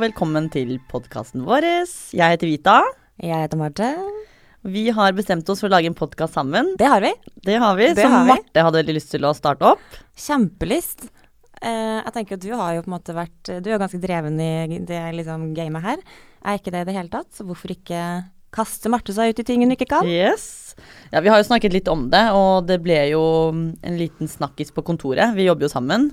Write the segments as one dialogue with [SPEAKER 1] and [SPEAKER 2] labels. [SPEAKER 1] velkommen til podkasten vår. Jeg heter Vita.
[SPEAKER 2] Jeg heter Marte.
[SPEAKER 1] Vi har bestemt oss for å lage en podkast sammen.
[SPEAKER 2] Det har vi.
[SPEAKER 1] Det har vi,
[SPEAKER 2] Det
[SPEAKER 1] som
[SPEAKER 2] har vi.
[SPEAKER 1] Marte hadde veldig lyst til å starte opp.
[SPEAKER 2] Kjempelyst. Eh, jeg tenker at Du har jo på en måte vært Du er jo ganske dreven i det liksom, gamet her. Er ikke det i det hele tatt? Så hvorfor ikke kaste Marte seg ut i ting hun ikke kan?
[SPEAKER 1] Yes. Ja, vi har jo snakket litt om det, og det ble jo en liten snakkis på kontoret. Vi jobber jo sammen.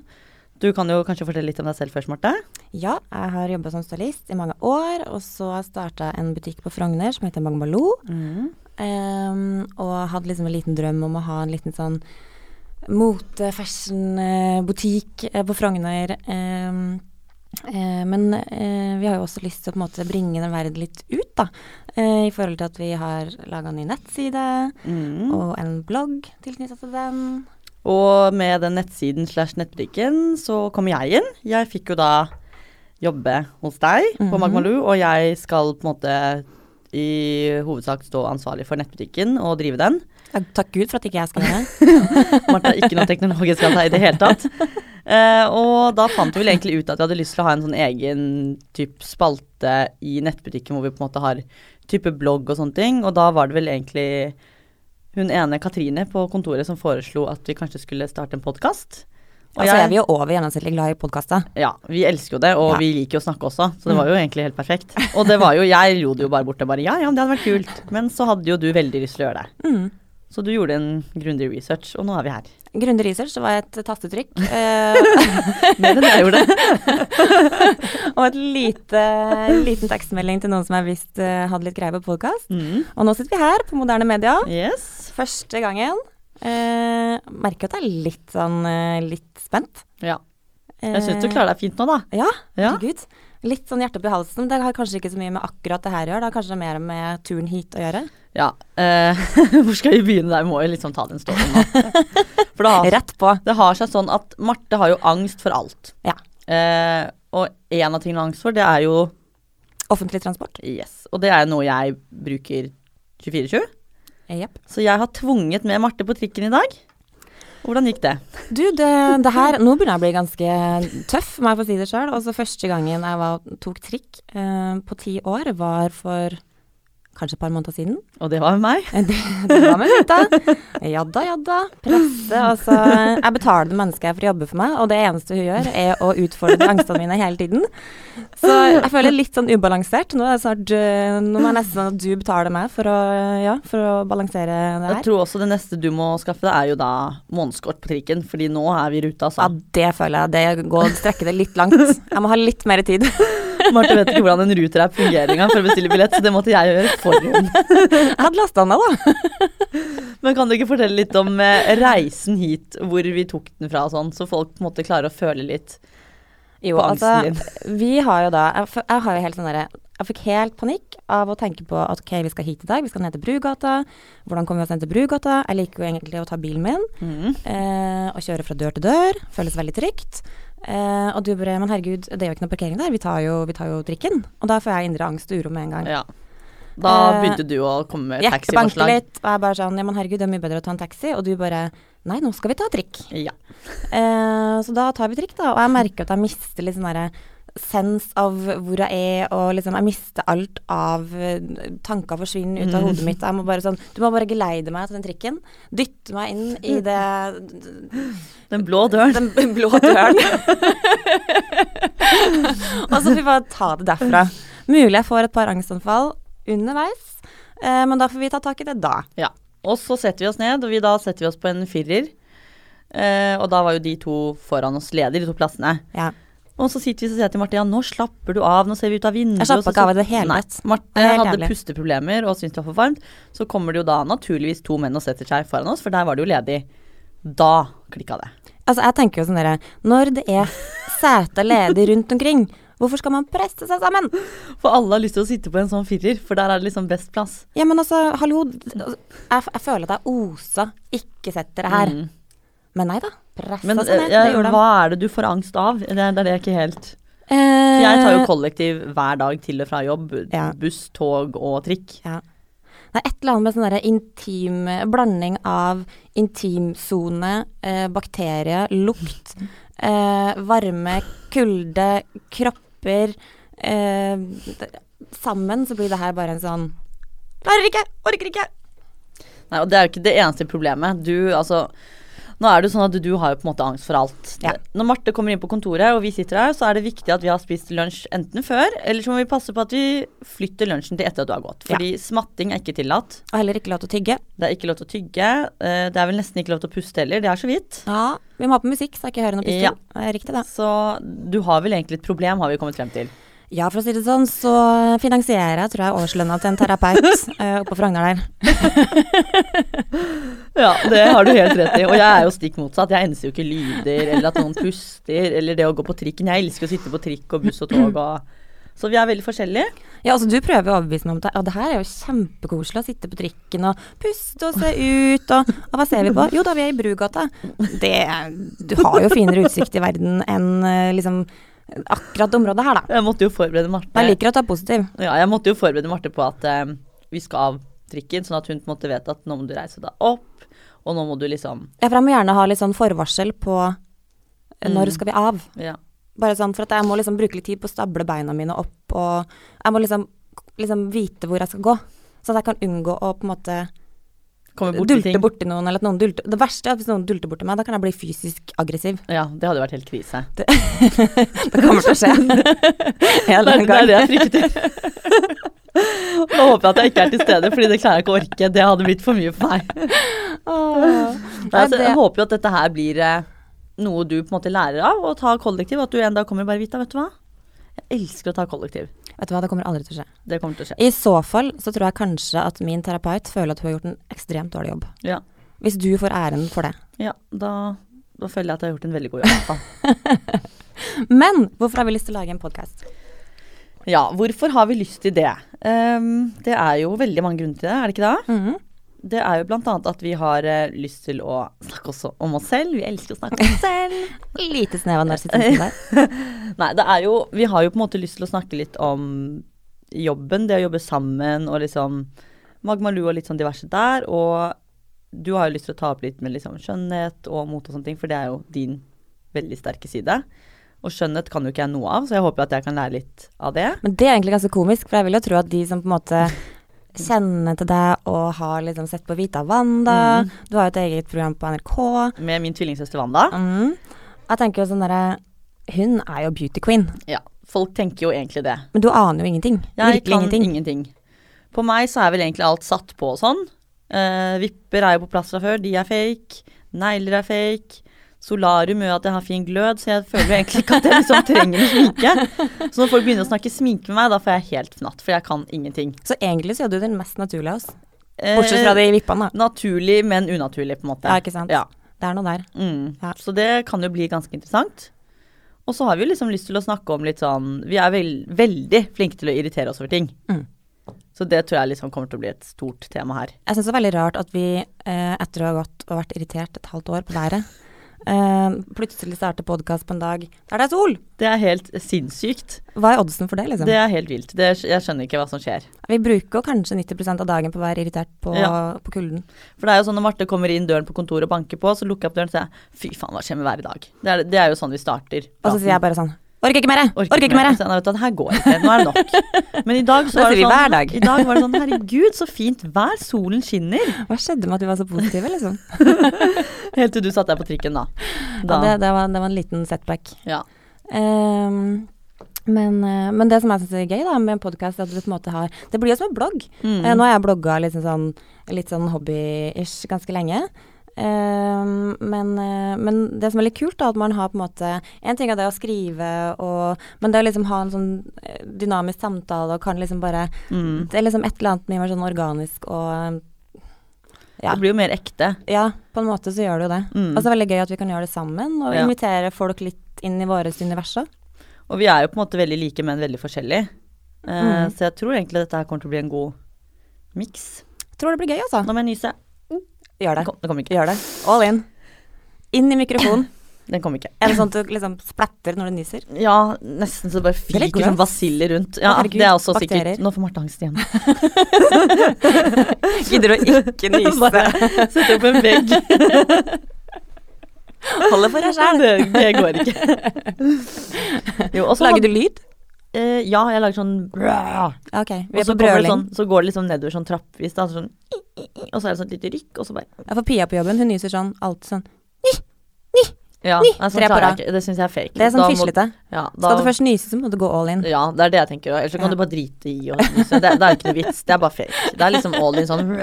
[SPEAKER 1] Du kan jo kanskje fortelle litt om deg selv først, Marte.
[SPEAKER 2] Ja, jeg har jobba som stylist i mange år, og så har jeg starta en butikk på Frogner som heter Magmaloo. Ehm, og hadde liksom en liten drøm om å ha en liten sånn mote, fashion, eh, butikk eh, på Frogner. Ehm, eh, men eh, vi har jo også lyst til å på en måte bringe den verden litt ut, da. eh, I forhold til at vi har laga en ny nettside
[SPEAKER 1] Mm.
[SPEAKER 2] og en blogg tilknytta til den.
[SPEAKER 1] Og med den nettsiden slash nettbutikken så kom jeg inn. Jeg fikk jo da jobbe hos deg på
[SPEAKER 2] Mhm.
[SPEAKER 1] Magmaloo, og jeg skal på en måte i hovedsak stå ansvarlig for nettbutikken og drive den.
[SPEAKER 2] Ja, Takk Gud for at ikke jeg skal gjøre det.
[SPEAKER 1] Martha er ikke noe teknologisk av seg i det hele tatt. Eh, og da fant vi vel egentlig ut at vi hadde lyst til å ha en sånn egen typ spalte i nettbutikken hvor vi på en måte har type blogg og sånne ting, og da var det vel egentlig hun ene Katrine på kontoret som foreslo at vi kanskje skulle starte en podkast.
[SPEAKER 2] Altså, jeg er vi jo over gjennomsnittlig glad i podkaster.
[SPEAKER 1] Ja, vi elsker jo det, og
[SPEAKER 2] Ja. Mm.
[SPEAKER 1] vi liker jo å snakke også, så det var jo egentlig helt perfekt. Og det var jo, jeg lo det jo bare bort og bare ja, ja, men det hadde vært kult. Men så hadde jo du veldig lyst til å gjøre det.
[SPEAKER 2] Mm.
[SPEAKER 1] Så du gjorde en grundig research, og nå er vi her.
[SPEAKER 2] Grundig research, det var et tastetrykk. eh,
[SPEAKER 1] Mer enn jeg gjorde.
[SPEAKER 2] og et lite, liten tekstmelding til noen som jeg visst eh, hadde litt greie på podkast.
[SPEAKER 1] Mm.
[SPEAKER 2] Og nå sitter vi her på moderne media.
[SPEAKER 1] Yes.
[SPEAKER 2] Første gangen. Eh, merker at jeg er litt sånn eh, litt spent.
[SPEAKER 1] Ja. Jeg syns du klarer deg fint nå, da.
[SPEAKER 2] Ja,
[SPEAKER 1] Ja.
[SPEAKER 2] herregud. Litt sånn hjerte opp i halsen. Det har kanskje ikke så mye med akkurat det her å gjøre, det har kanskje mer med turen hit å gjøre.
[SPEAKER 1] ja. eh, hvor skal vi begynne der? Vi må jo liksom ta den storyen nå. For det har,
[SPEAKER 2] Rett på.
[SPEAKER 1] det har seg sånn at Marte har jo angst for alt.
[SPEAKER 2] Ja.
[SPEAKER 1] Eh, og en av tingene hun har angst for, det er jo
[SPEAKER 2] Offentlig transport.
[SPEAKER 1] Yes. Og det er noe jeg bruker 24-7.
[SPEAKER 2] Eh, Jepp.
[SPEAKER 1] Så jeg har tvunget med Marte på trikken i dag. Hvordan gikk det?
[SPEAKER 2] Du, det, det her Nå begynner jeg å bli ganske tøff, må jeg få si det sjøl. Altså, første gangen jeg var, tok trikk eh, på ti år, var for kanskje et par måneder siden.
[SPEAKER 1] Og det var meg.
[SPEAKER 2] Det, det var med Vita. Ja da, ja da. Presse, altså. Jeg betaler det mennesket jeg for å jobbe for meg, og det eneste hun gjør, er å utfordre angstene mine hele tiden. Så jeg føler det litt sånn ubalansert. Nå er det snart eh, Nå må jeg nesten sånn at du betaler meg for å, ja, for å balansere det
[SPEAKER 1] Jeg
[SPEAKER 2] her.
[SPEAKER 1] tror også det neste du må skaffe deg, er jo da månedskort på trikken. Fordi nå er vi i ruta,
[SPEAKER 2] Ja,
[SPEAKER 1] altså.
[SPEAKER 2] det føler jeg. Det går strekker det litt langt. Jeg må ha litt mer tid.
[SPEAKER 1] Marte vet ikke hvordan en ruter-app fungerer engang for å bestille billett, så det måtte jeg gjøre for henne.
[SPEAKER 2] Jeg hadde lasta ned, da.
[SPEAKER 1] Men kan du ikke fortelle litt om eh, reisen hit, hvor vi tok den fra og sånn, så folk på en måte klarer å føle litt
[SPEAKER 2] Jo,
[SPEAKER 1] på
[SPEAKER 2] altså,
[SPEAKER 1] angsten din?
[SPEAKER 2] vi har jo da Jeg, f jeg har jo helt sånn derre Jeg fikk helt panikk av å tenke på at ok, vi skal hit i dag, vi skal ned til Brugata. Hvordan kommer vi oss ned til Brugata? Jeg liker jo egentlig å ta bilen min
[SPEAKER 1] Mm.
[SPEAKER 2] eh, og kjøre fra dør til dør. Føles veldig trygt. Eh, og du bare Men herregud, det er jo ikke noe parkering der, vi tar jo, vi tar jo trikken. Og da får jeg indre angst og uro med en gang.
[SPEAKER 1] Ja. Da
[SPEAKER 2] Eh,
[SPEAKER 1] begynte du å komme med
[SPEAKER 2] Hjertet banker
[SPEAKER 1] taxiforslag.
[SPEAKER 2] litt, og jeg bare sånn Ja, men herregud, det er mye bedre å ta en taxi. Og du bare Nei, nå skal vi ta trikk.
[SPEAKER 1] Ja.
[SPEAKER 2] Eh, så da tar vi trikk, da. Og jeg merker at jeg mister litt sånn derre sens av hvor jeg er, og liksom jeg mister alt av eh, Tanker forsvinner ut av hodet mitt. Jeg må bare sånn Du må bare geleide meg til den trikken. Dytte meg inn i det
[SPEAKER 1] Den blå døren.
[SPEAKER 2] Den blå døren. og så får vi bare ta det derfra. Mulig jeg får et par angstanfall underveis, eh, men da får vi ta tak i det da.
[SPEAKER 1] Ja. Og så setter vi oss ned, og vi, da setter vi oss på en firer. Eh, og da var jo de to foran oss ledige, de to plassene.
[SPEAKER 2] Ja.
[SPEAKER 1] Og så sitter vi og sier jeg til Marte ja, nå slapper du av, nå ser vi ut av vinduet.
[SPEAKER 2] Jeg slapp
[SPEAKER 1] og så-
[SPEAKER 2] ikke av i det hele
[SPEAKER 1] Nei,
[SPEAKER 2] tatt.
[SPEAKER 1] Marte
[SPEAKER 2] Det er helt
[SPEAKER 1] hadde
[SPEAKER 2] jævlig.
[SPEAKER 1] pusteproblemer og syntes det var for varmt. Så kommer det jo da naturligvis to menn og setter seg foran oss, for der var det jo ledig. Da klikka det.
[SPEAKER 2] Altså, jeg tenker jo sånn dere, når det er seter ledig rundt omkring, hvorfor skal man presse seg sammen?
[SPEAKER 1] For alle har lyst til å sitte på en sånn firer, for der er det liksom best plass.
[SPEAKER 2] Ja, men altså, hallo, d- altså, jeg, jeg føler at jeg osa ikke sett dere her.
[SPEAKER 1] Mm.
[SPEAKER 2] Men nei da, pressa
[SPEAKER 1] Men
[SPEAKER 2] seg ned,
[SPEAKER 1] eh,
[SPEAKER 2] det gjorde de.
[SPEAKER 1] hva er det du får angst av? Det, er- det er det jeg ikke helt For
[SPEAKER 2] Eh,
[SPEAKER 1] Jeg tar jo kollektiv hver dag til og fra jobb.
[SPEAKER 2] Ja.
[SPEAKER 1] Buss, tog og trikk.
[SPEAKER 2] ja. Nei, et eller annet med sånn derre intim Blanding av intimsone, eh, bakterie, lukt, eh, varme, kulde, kropper, eh, d- sammen så blir det her bare en sånn Klarer ikke! Orker ikke!
[SPEAKER 1] Nei, og det er jo ikke det eneste problemet. Du, altså Nå er det jo sånn at du har jo på en måte angst for alt.
[SPEAKER 2] Ja.
[SPEAKER 1] Når Marte kommer inn på kontoret og vi sitter her, så er det viktig at vi har spist lunsj enten før, eller så må vi passe på at vi flytter lunsjen til etter at du har gått.
[SPEAKER 2] Ja.
[SPEAKER 1] Fordi smatting er ikke tillatt.
[SPEAKER 2] Og heller ikke lov til å tygge.
[SPEAKER 1] Det er ikke lov til å tygge. eh, Det er vel nesten ikke lov til å puste heller. Det er så vidt.
[SPEAKER 2] Ja, vi må ha på musikk, så jeg ikke hører noe pusting.
[SPEAKER 1] Ja.
[SPEAKER 2] Det er Riktig, det.
[SPEAKER 1] Så du har vel egentlig et problem, har vi kommet frem til.
[SPEAKER 2] Ja, for å si det sånn, så finansierer jeg tror jeg årslønna til en terapeut eh, oppe på Frogner der.
[SPEAKER 1] Ja, det har du helt rett i. Og jeg er jo stikk motsatt. Jeg enser jo ikke lyder, eller at noen puster, eller det å gå på trikken. Jeg elsker å sitte på trikk og buss og tog og Så vi er veldig forskjellige.
[SPEAKER 2] Ja, altså du prøver å overbevise meg om det. Og det her er jo kjempekoselig å sitte på trikken og puste og se ut og Og hva ser vi på? Jo da, vi er i Brugata. Det Du har jo finere utsikt i verden enn eh, liksom akkurat det området her, da.
[SPEAKER 1] Jeg måtte jo forberede Marte
[SPEAKER 2] Men jeg liker å ta positiv.
[SPEAKER 1] ja, jeg måtte jo forberede Marte på at eh, vi skal av trikken, sånn at hun på en måte vet at nå må du reise deg opp, og nå må du liksom
[SPEAKER 2] Ja, for jeg må gjerne ha litt sånn forvarsel på eh, når skal vi av.
[SPEAKER 1] Ja.
[SPEAKER 2] Bare sånn for at jeg må liksom bruke litt tid på å stable beina mine opp, og jeg må liksom, liksom vite hvor jeg skal gå. Sånn at jeg kan unngå å på en måte
[SPEAKER 1] Kommer bort til
[SPEAKER 2] dulte
[SPEAKER 1] ting.
[SPEAKER 2] borti noen, eller at noen dulter Det verste er at hvis noen dulter borti meg, da kan jeg bli fysisk aggressiv.
[SPEAKER 1] Ja, det hadde jo vært helt krise.
[SPEAKER 2] Det kommer til å skje.
[SPEAKER 1] Det
[SPEAKER 2] En eller
[SPEAKER 1] er
[SPEAKER 2] annen
[SPEAKER 1] det, er
[SPEAKER 2] gang.
[SPEAKER 1] det jeg frykter. Nå håper jeg at jeg ikke er til stede, Fordi det klarer jeg ikke å orke. Det hadde blitt for mye for meg.
[SPEAKER 2] Åh.
[SPEAKER 1] Nei, altså,
[SPEAKER 2] det-
[SPEAKER 1] jeg håper jo at dette her blir eh, noe du på en måte lærer av, og tar kollektiv. At du en dag kommer og bare Vita, vet du hva? Jeg elsker å ta kollektiv.
[SPEAKER 2] Vet du hva, det kommer aldri til å skje.
[SPEAKER 1] Det kommer til å skje.
[SPEAKER 2] I så fall så tror jeg kanskje at min terapeut føler at hun har gjort en ekstremt dårlig jobb.
[SPEAKER 1] Ja,
[SPEAKER 2] Hvis du får æren for det.
[SPEAKER 1] ja da, da føler jeg at jeg har gjort en veldig god jobb. i hvert fall.
[SPEAKER 2] Men hvorfor har vi lyst til å lage en podkast?
[SPEAKER 1] Ja, hvorfor har vi lyst til det? Ehm, det er jo veldig mange grunner til det, er det ikke det? Det er jo blant annet at vi har eh, lyst til å snakke også om oss selv. Vi elsker å snakke om oss selv.
[SPEAKER 2] Lite snev av narsissisme der.
[SPEAKER 1] Nei, det er jo Vi har jo på en måte lyst til å snakke litt om jobben, det å jobbe sammen og liksom Magmaloo og litt sånn diverse der. Og du har jo lyst til å ta opp litt med liksom skjønnhet og mot og sånne ting, for det er jo din veldig sterke side. Og skjønnhet kan jo ikke jeg noe av, så jeg håper at jeg kan lære litt av det.
[SPEAKER 2] Men det er egentlig ganske komisk, for jeg vil jo tro at de som på en måte kjenner til deg og har liksom sett på Vita Wanda,
[SPEAKER 1] Mm.
[SPEAKER 2] du har jo et eget program på NRK
[SPEAKER 1] Med min tvillingsøster Wanda.
[SPEAKER 2] mm. Jeg tenker jo sånn derre Hun er jo beauty queen,
[SPEAKER 1] Ja, folk tenker jo egentlig det.
[SPEAKER 2] men du aner jo ingenting.
[SPEAKER 1] Jeg
[SPEAKER 2] Virkelig
[SPEAKER 1] kan
[SPEAKER 2] ingenting.
[SPEAKER 1] ingenting. På meg så er vel egentlig alt satt på og sånn. Eh, vipper er jo på plass fra før, de er fake. Negler er fake. Solarium gjør at jeg har fin glød, så jeg føler jo egentlig ikke at jeg liksom trenger noe sminke. Så når folk begynner å snakke sminke med meg, da får jeg helt fnatt, for jeg kan ingenting.
[SPEAKER 2] Så egentlig så gjør du den mest naturlige av oss.
[SPEAKER 1] Eh,
[SPEAKER 2] Bortsett fra de vippene, da.
[SPEAKER 1] Naturlig, men unaturlig, på en måte.
[SPEAKER 2] Ja, ikke sant.
[SPEAKER 1] Ja.
[SPEAKER 2] Det er noe der.
[SPEAKER 1] Mm.
[SPEAKER 2] Ja.
[SPEAKER 1] Så det kan jo bli ganske interessant. Og så har vi jo liksom lyst til å snakke om litt sånn Vi er vel, veldig flinke til å irritere oss over ting.
[SPEAKER 2] Mm.
[SPEAKER 1] Så det tror jeg liksom kommer til å bli et stort tema her.
[SPEAKER 2] Jeg syns det er veldig rart at vi, eh, etter å ha gått og vært irritert et halvt år på været, eh, plutselig starter podkast på en dag der det er sol!
[SPEAKER 1] Det er helt sinnssykt.
[SPEAKER 2] Hva er oddsen for det, liksom?
[SPEAKER 1] Det er helt vilt. Det, jeg skjønner ikke hva som skjer.
[SPEAKER 2] Vi bruker jo kanskje 90 av dagen på å være irritert på,
[SPEAKER 1] Ja.
[SPEAKER 2] på kulden.
[SPEAKER 1] For det er jo sånn når Marte kommer inn døren på kontoret og banker på, så lukker jeg opp døren og sier fy faen, hva skjer med været i dag? Det er, det er jo sånn vi starter.
[SPEAKER 2] Og så sier jeg bare sånn Orker ikke mer! jeg!
[SPEAKER 1] Orker
[SPEAKER 2] Orker ikke mer!
[SPEAKER 1] Så jeg, «Nei, vet du, det her går ikke, nå er det nok. Men i dag så
[SPEAKER 2] Det
[SPEAKER 1] var det
[SPEAKER 2] sier vi
[SPEAKER 1] sånn
[SPEAKER 2] hver dag.
[SPEAKER 1] I dag var det sånn herregud, så fint vær, solen skinner.
[SPEAKER 2] jeg!» Hva skjedde med at vi var så positive, liksom?
[SPEAKER 1] Helt til du satt deg på trikken, da.
[SPEAKER 2] Ja,
[SPEAKER 1] da
[SPEAKER 2] det, det, var, det var en liten setback.
[SPEAKER 1] ja.
[SPEAKER 2] Ehm, men, eh, men det som jeg syns er gøy da, med en podkast, er at du på en måte har Det blir jo som en blogg.
[SPEAKER 1] Mm.
[SPEAKER 2] Eh, nå har jeg blogga litt sånn, litt sånn hobby-ish ganske lenge. Ehm, men, eh, men det som er litt kult, da, at man har på en måte En ting er det å skrive, og, men det å liksom ha en sånn eh, dynamisk samtale og kan liksom bare
[SPEAKER 1] Mm.
[SPEAKER 2] Det er liksom et eller annet mye mer sånn organisk og Ja.
[SPEAKER 1] Det blir jo mer ekte.
[SPEAKER 2] Ja, på en måte så gjør det jo det.
[SPEAKER 1] Mm.
[SPEAKER 2] Og så er det veldig gøy at vi kan gjøre det sammen, og
[SPEAKER 1] Ja.
[SPEAKER 2] invitere folk litt inn i vårt univers òg.
[SPEAKER 1] Og vi er jo på en måte veldig like, men veldig forskjellige. Eh,
[SPEAKER 2] Mm.
[SPEAKER 1] Så jeg tror egentlig dette her kommer til å bli en god miks.
[SPEAKER 2] Tror det blir gøy, altså.
[SPEAKER 1] Nå må jeg nyse.
[SPEAKER 2] Gjør
[SPEAKER 1] Den
[SPEAKER 2] det.
[SPEAKER 1] kom, den kom ikke.
[SPEAKER 2] Gjør det. All in. Inn i mikrofonen.
[SPEAKER 1] Den kom ikke.
[SPEAKER 2] Er det sånn at du liksom splatter når du nyser?
[SPEAKER 1] Ja, nesten så det bare
[SPEAKER 2] er litt
[SPEAKER 1] fyker sånn
[SPEAKER 2] gross.
[SPEAKER 1] basiller rundt. Ja,
[SPEAKER 2] Å, herregud,
[SPEAKER 1] det er også
[SPEAKER 2] bakterier.
[SPEAKER 1] sikkert Nå får Marte angst igjen.
[SPEAKER 2] Gidder du ikke
[SPEAKER 1] Bare sette opp en vegg.
[SPEAKER 2] Holder for deg sjæl.
[SPEAKER 1] Det, det går ikke. Jo, og så
[SPEAKER 2] Lager du lyd?
[SPEAKER 1] eh, ja, jeg lager sånn brrr,
[SPEAKER 2] Ok,
[SPEAKER 1] og
[SPEAKER 2] vi er
[SPEAKER 1] så, kommer
[SPEAKER 2] på
[SPEAKER 1] det
[SPEAKER 2] brøling.
[SPEAKER 1] sånn, så går det liksom nedover sånn trappvis, da, sånn, og så er det sånn et lite rykk, og så bare
[SPEAKER 2] Jeg får Pia på jobben, hun nyser sånn alltid sånn.
[SPEAKER 1] ja,
[SPEAKER 2] Ni,
[SPEAKER 1] nei, sånn
[SPEAKER 2] tre på
[SPEAKER 1] klarer jeg
[SPEAKER 2] rad.
[SPEAKER 1] ikke. Det syns jeg er fake.
[SPEAKER 2] Det er
[SPEAKER 1] Da
[SPEAKER 2] sånn
[SPEAKER 1] må-
[SPEAKER 2] fislete.
[SPEAKER 1] Ja,
[SPEAKER 2] Skal du
[SPEAKER 1] da-
[SPEAKER 2] først nyse, så må du gå all in.
[SPEAKER 1] Ja, det er det jeg tenker. og Ellers så kan
[SPEAKER 2] Ja.
[SPEAKER 1] du bare drite i og nyse. Det, det er ikke noe vits. Det er bare fake. Det er liksom all in sånn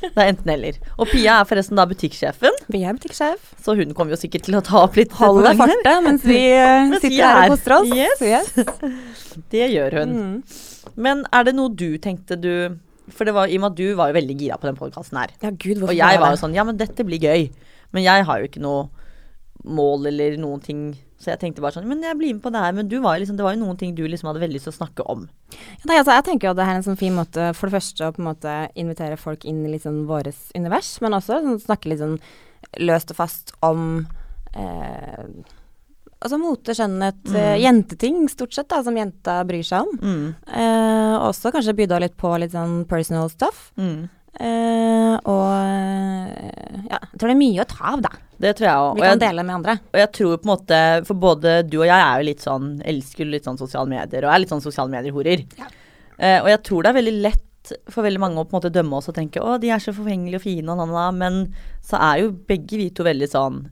[SPEAKER 1] Det er enten eller. Og Pia er forresten da butikksjefen,
[SPEAKER 2] Vi er butikksjef.
[SPEAKER 1] så hun kommer jo sikkert til å ta opp litt
[SPEAKER 2] Holder
[SPEAKER 1] forganger.
[SPEAKER 2] farta mens vi eh,
[SPEAKER 1] Mens vi
[SPEAKER 2] sitter her
[SPEAKER 1] er.
[SPEAKER 2] og koser oss.
[SPEAKER 1] Yes.
[SPEAKER 2] Yes.
[SPEAKER 1] Det gjør hun.
[SPEAKER 2] Mm.
[SPEAKER 1] Men er det noe du tenkte du For det var, i og med at du var jo veldig gira på den podkasten her.
[SPEAKER 2] Ja, gud,
[SPEAKER 1] Og
[SPEAKER 2] hvorfor
[SPEAKER 1] jeg var jo
[SPEAKER 2] det?
[SPEAKER 1] sånn Ja, men dette blir gøy. Men jeg har jo ikke noe mål eller noen ting. Så jeg tenkte bare sånn Men jeg blir med på det her. Men du var jo liksom, det var jo noen ting du liksom hadde veldig lyst til å snakke om.
[SPEAKER 2] Ja, Nei, altså, jeg tenker jo at det her er en sånn fin måte for det første å på en måte invitere folk inn i litt sånn våres univers, men også sånn, snakke litt sånn løst og fast om eh, Altså mote, skjønnhet, eh, jenteting stort sett, da, som jenta bryr seg om.
[SPEAKER 1] Mm.
[SPEAKER 2] Eh, også kanskje bydde litt på litt sånn personal stuff.
[SPEAKER 1] Mm.
[SPEAKER 2] Eh, og eh, ja, jeg tror det er mye å ta av, da.
[SPEAKER 1] Det tror jeg òg.
[SPEAKER 2] Vi kan dele med andre.
[SPEAKER 1] Og jeg tror på en måte, for både du og jeg er jo litt sånn, elsker litt sånn sosiale medier, og er litt sånn sosiale medier-horer.
[SPEAKER 2] Ja.
[SPEAKER 1] Eh, og jeg tror det er veldig lett for veldig mange å på en måte dømme oss og tenke å, de er så forfengelige og fine og nanna, men så er jo begge vi to veldig sånn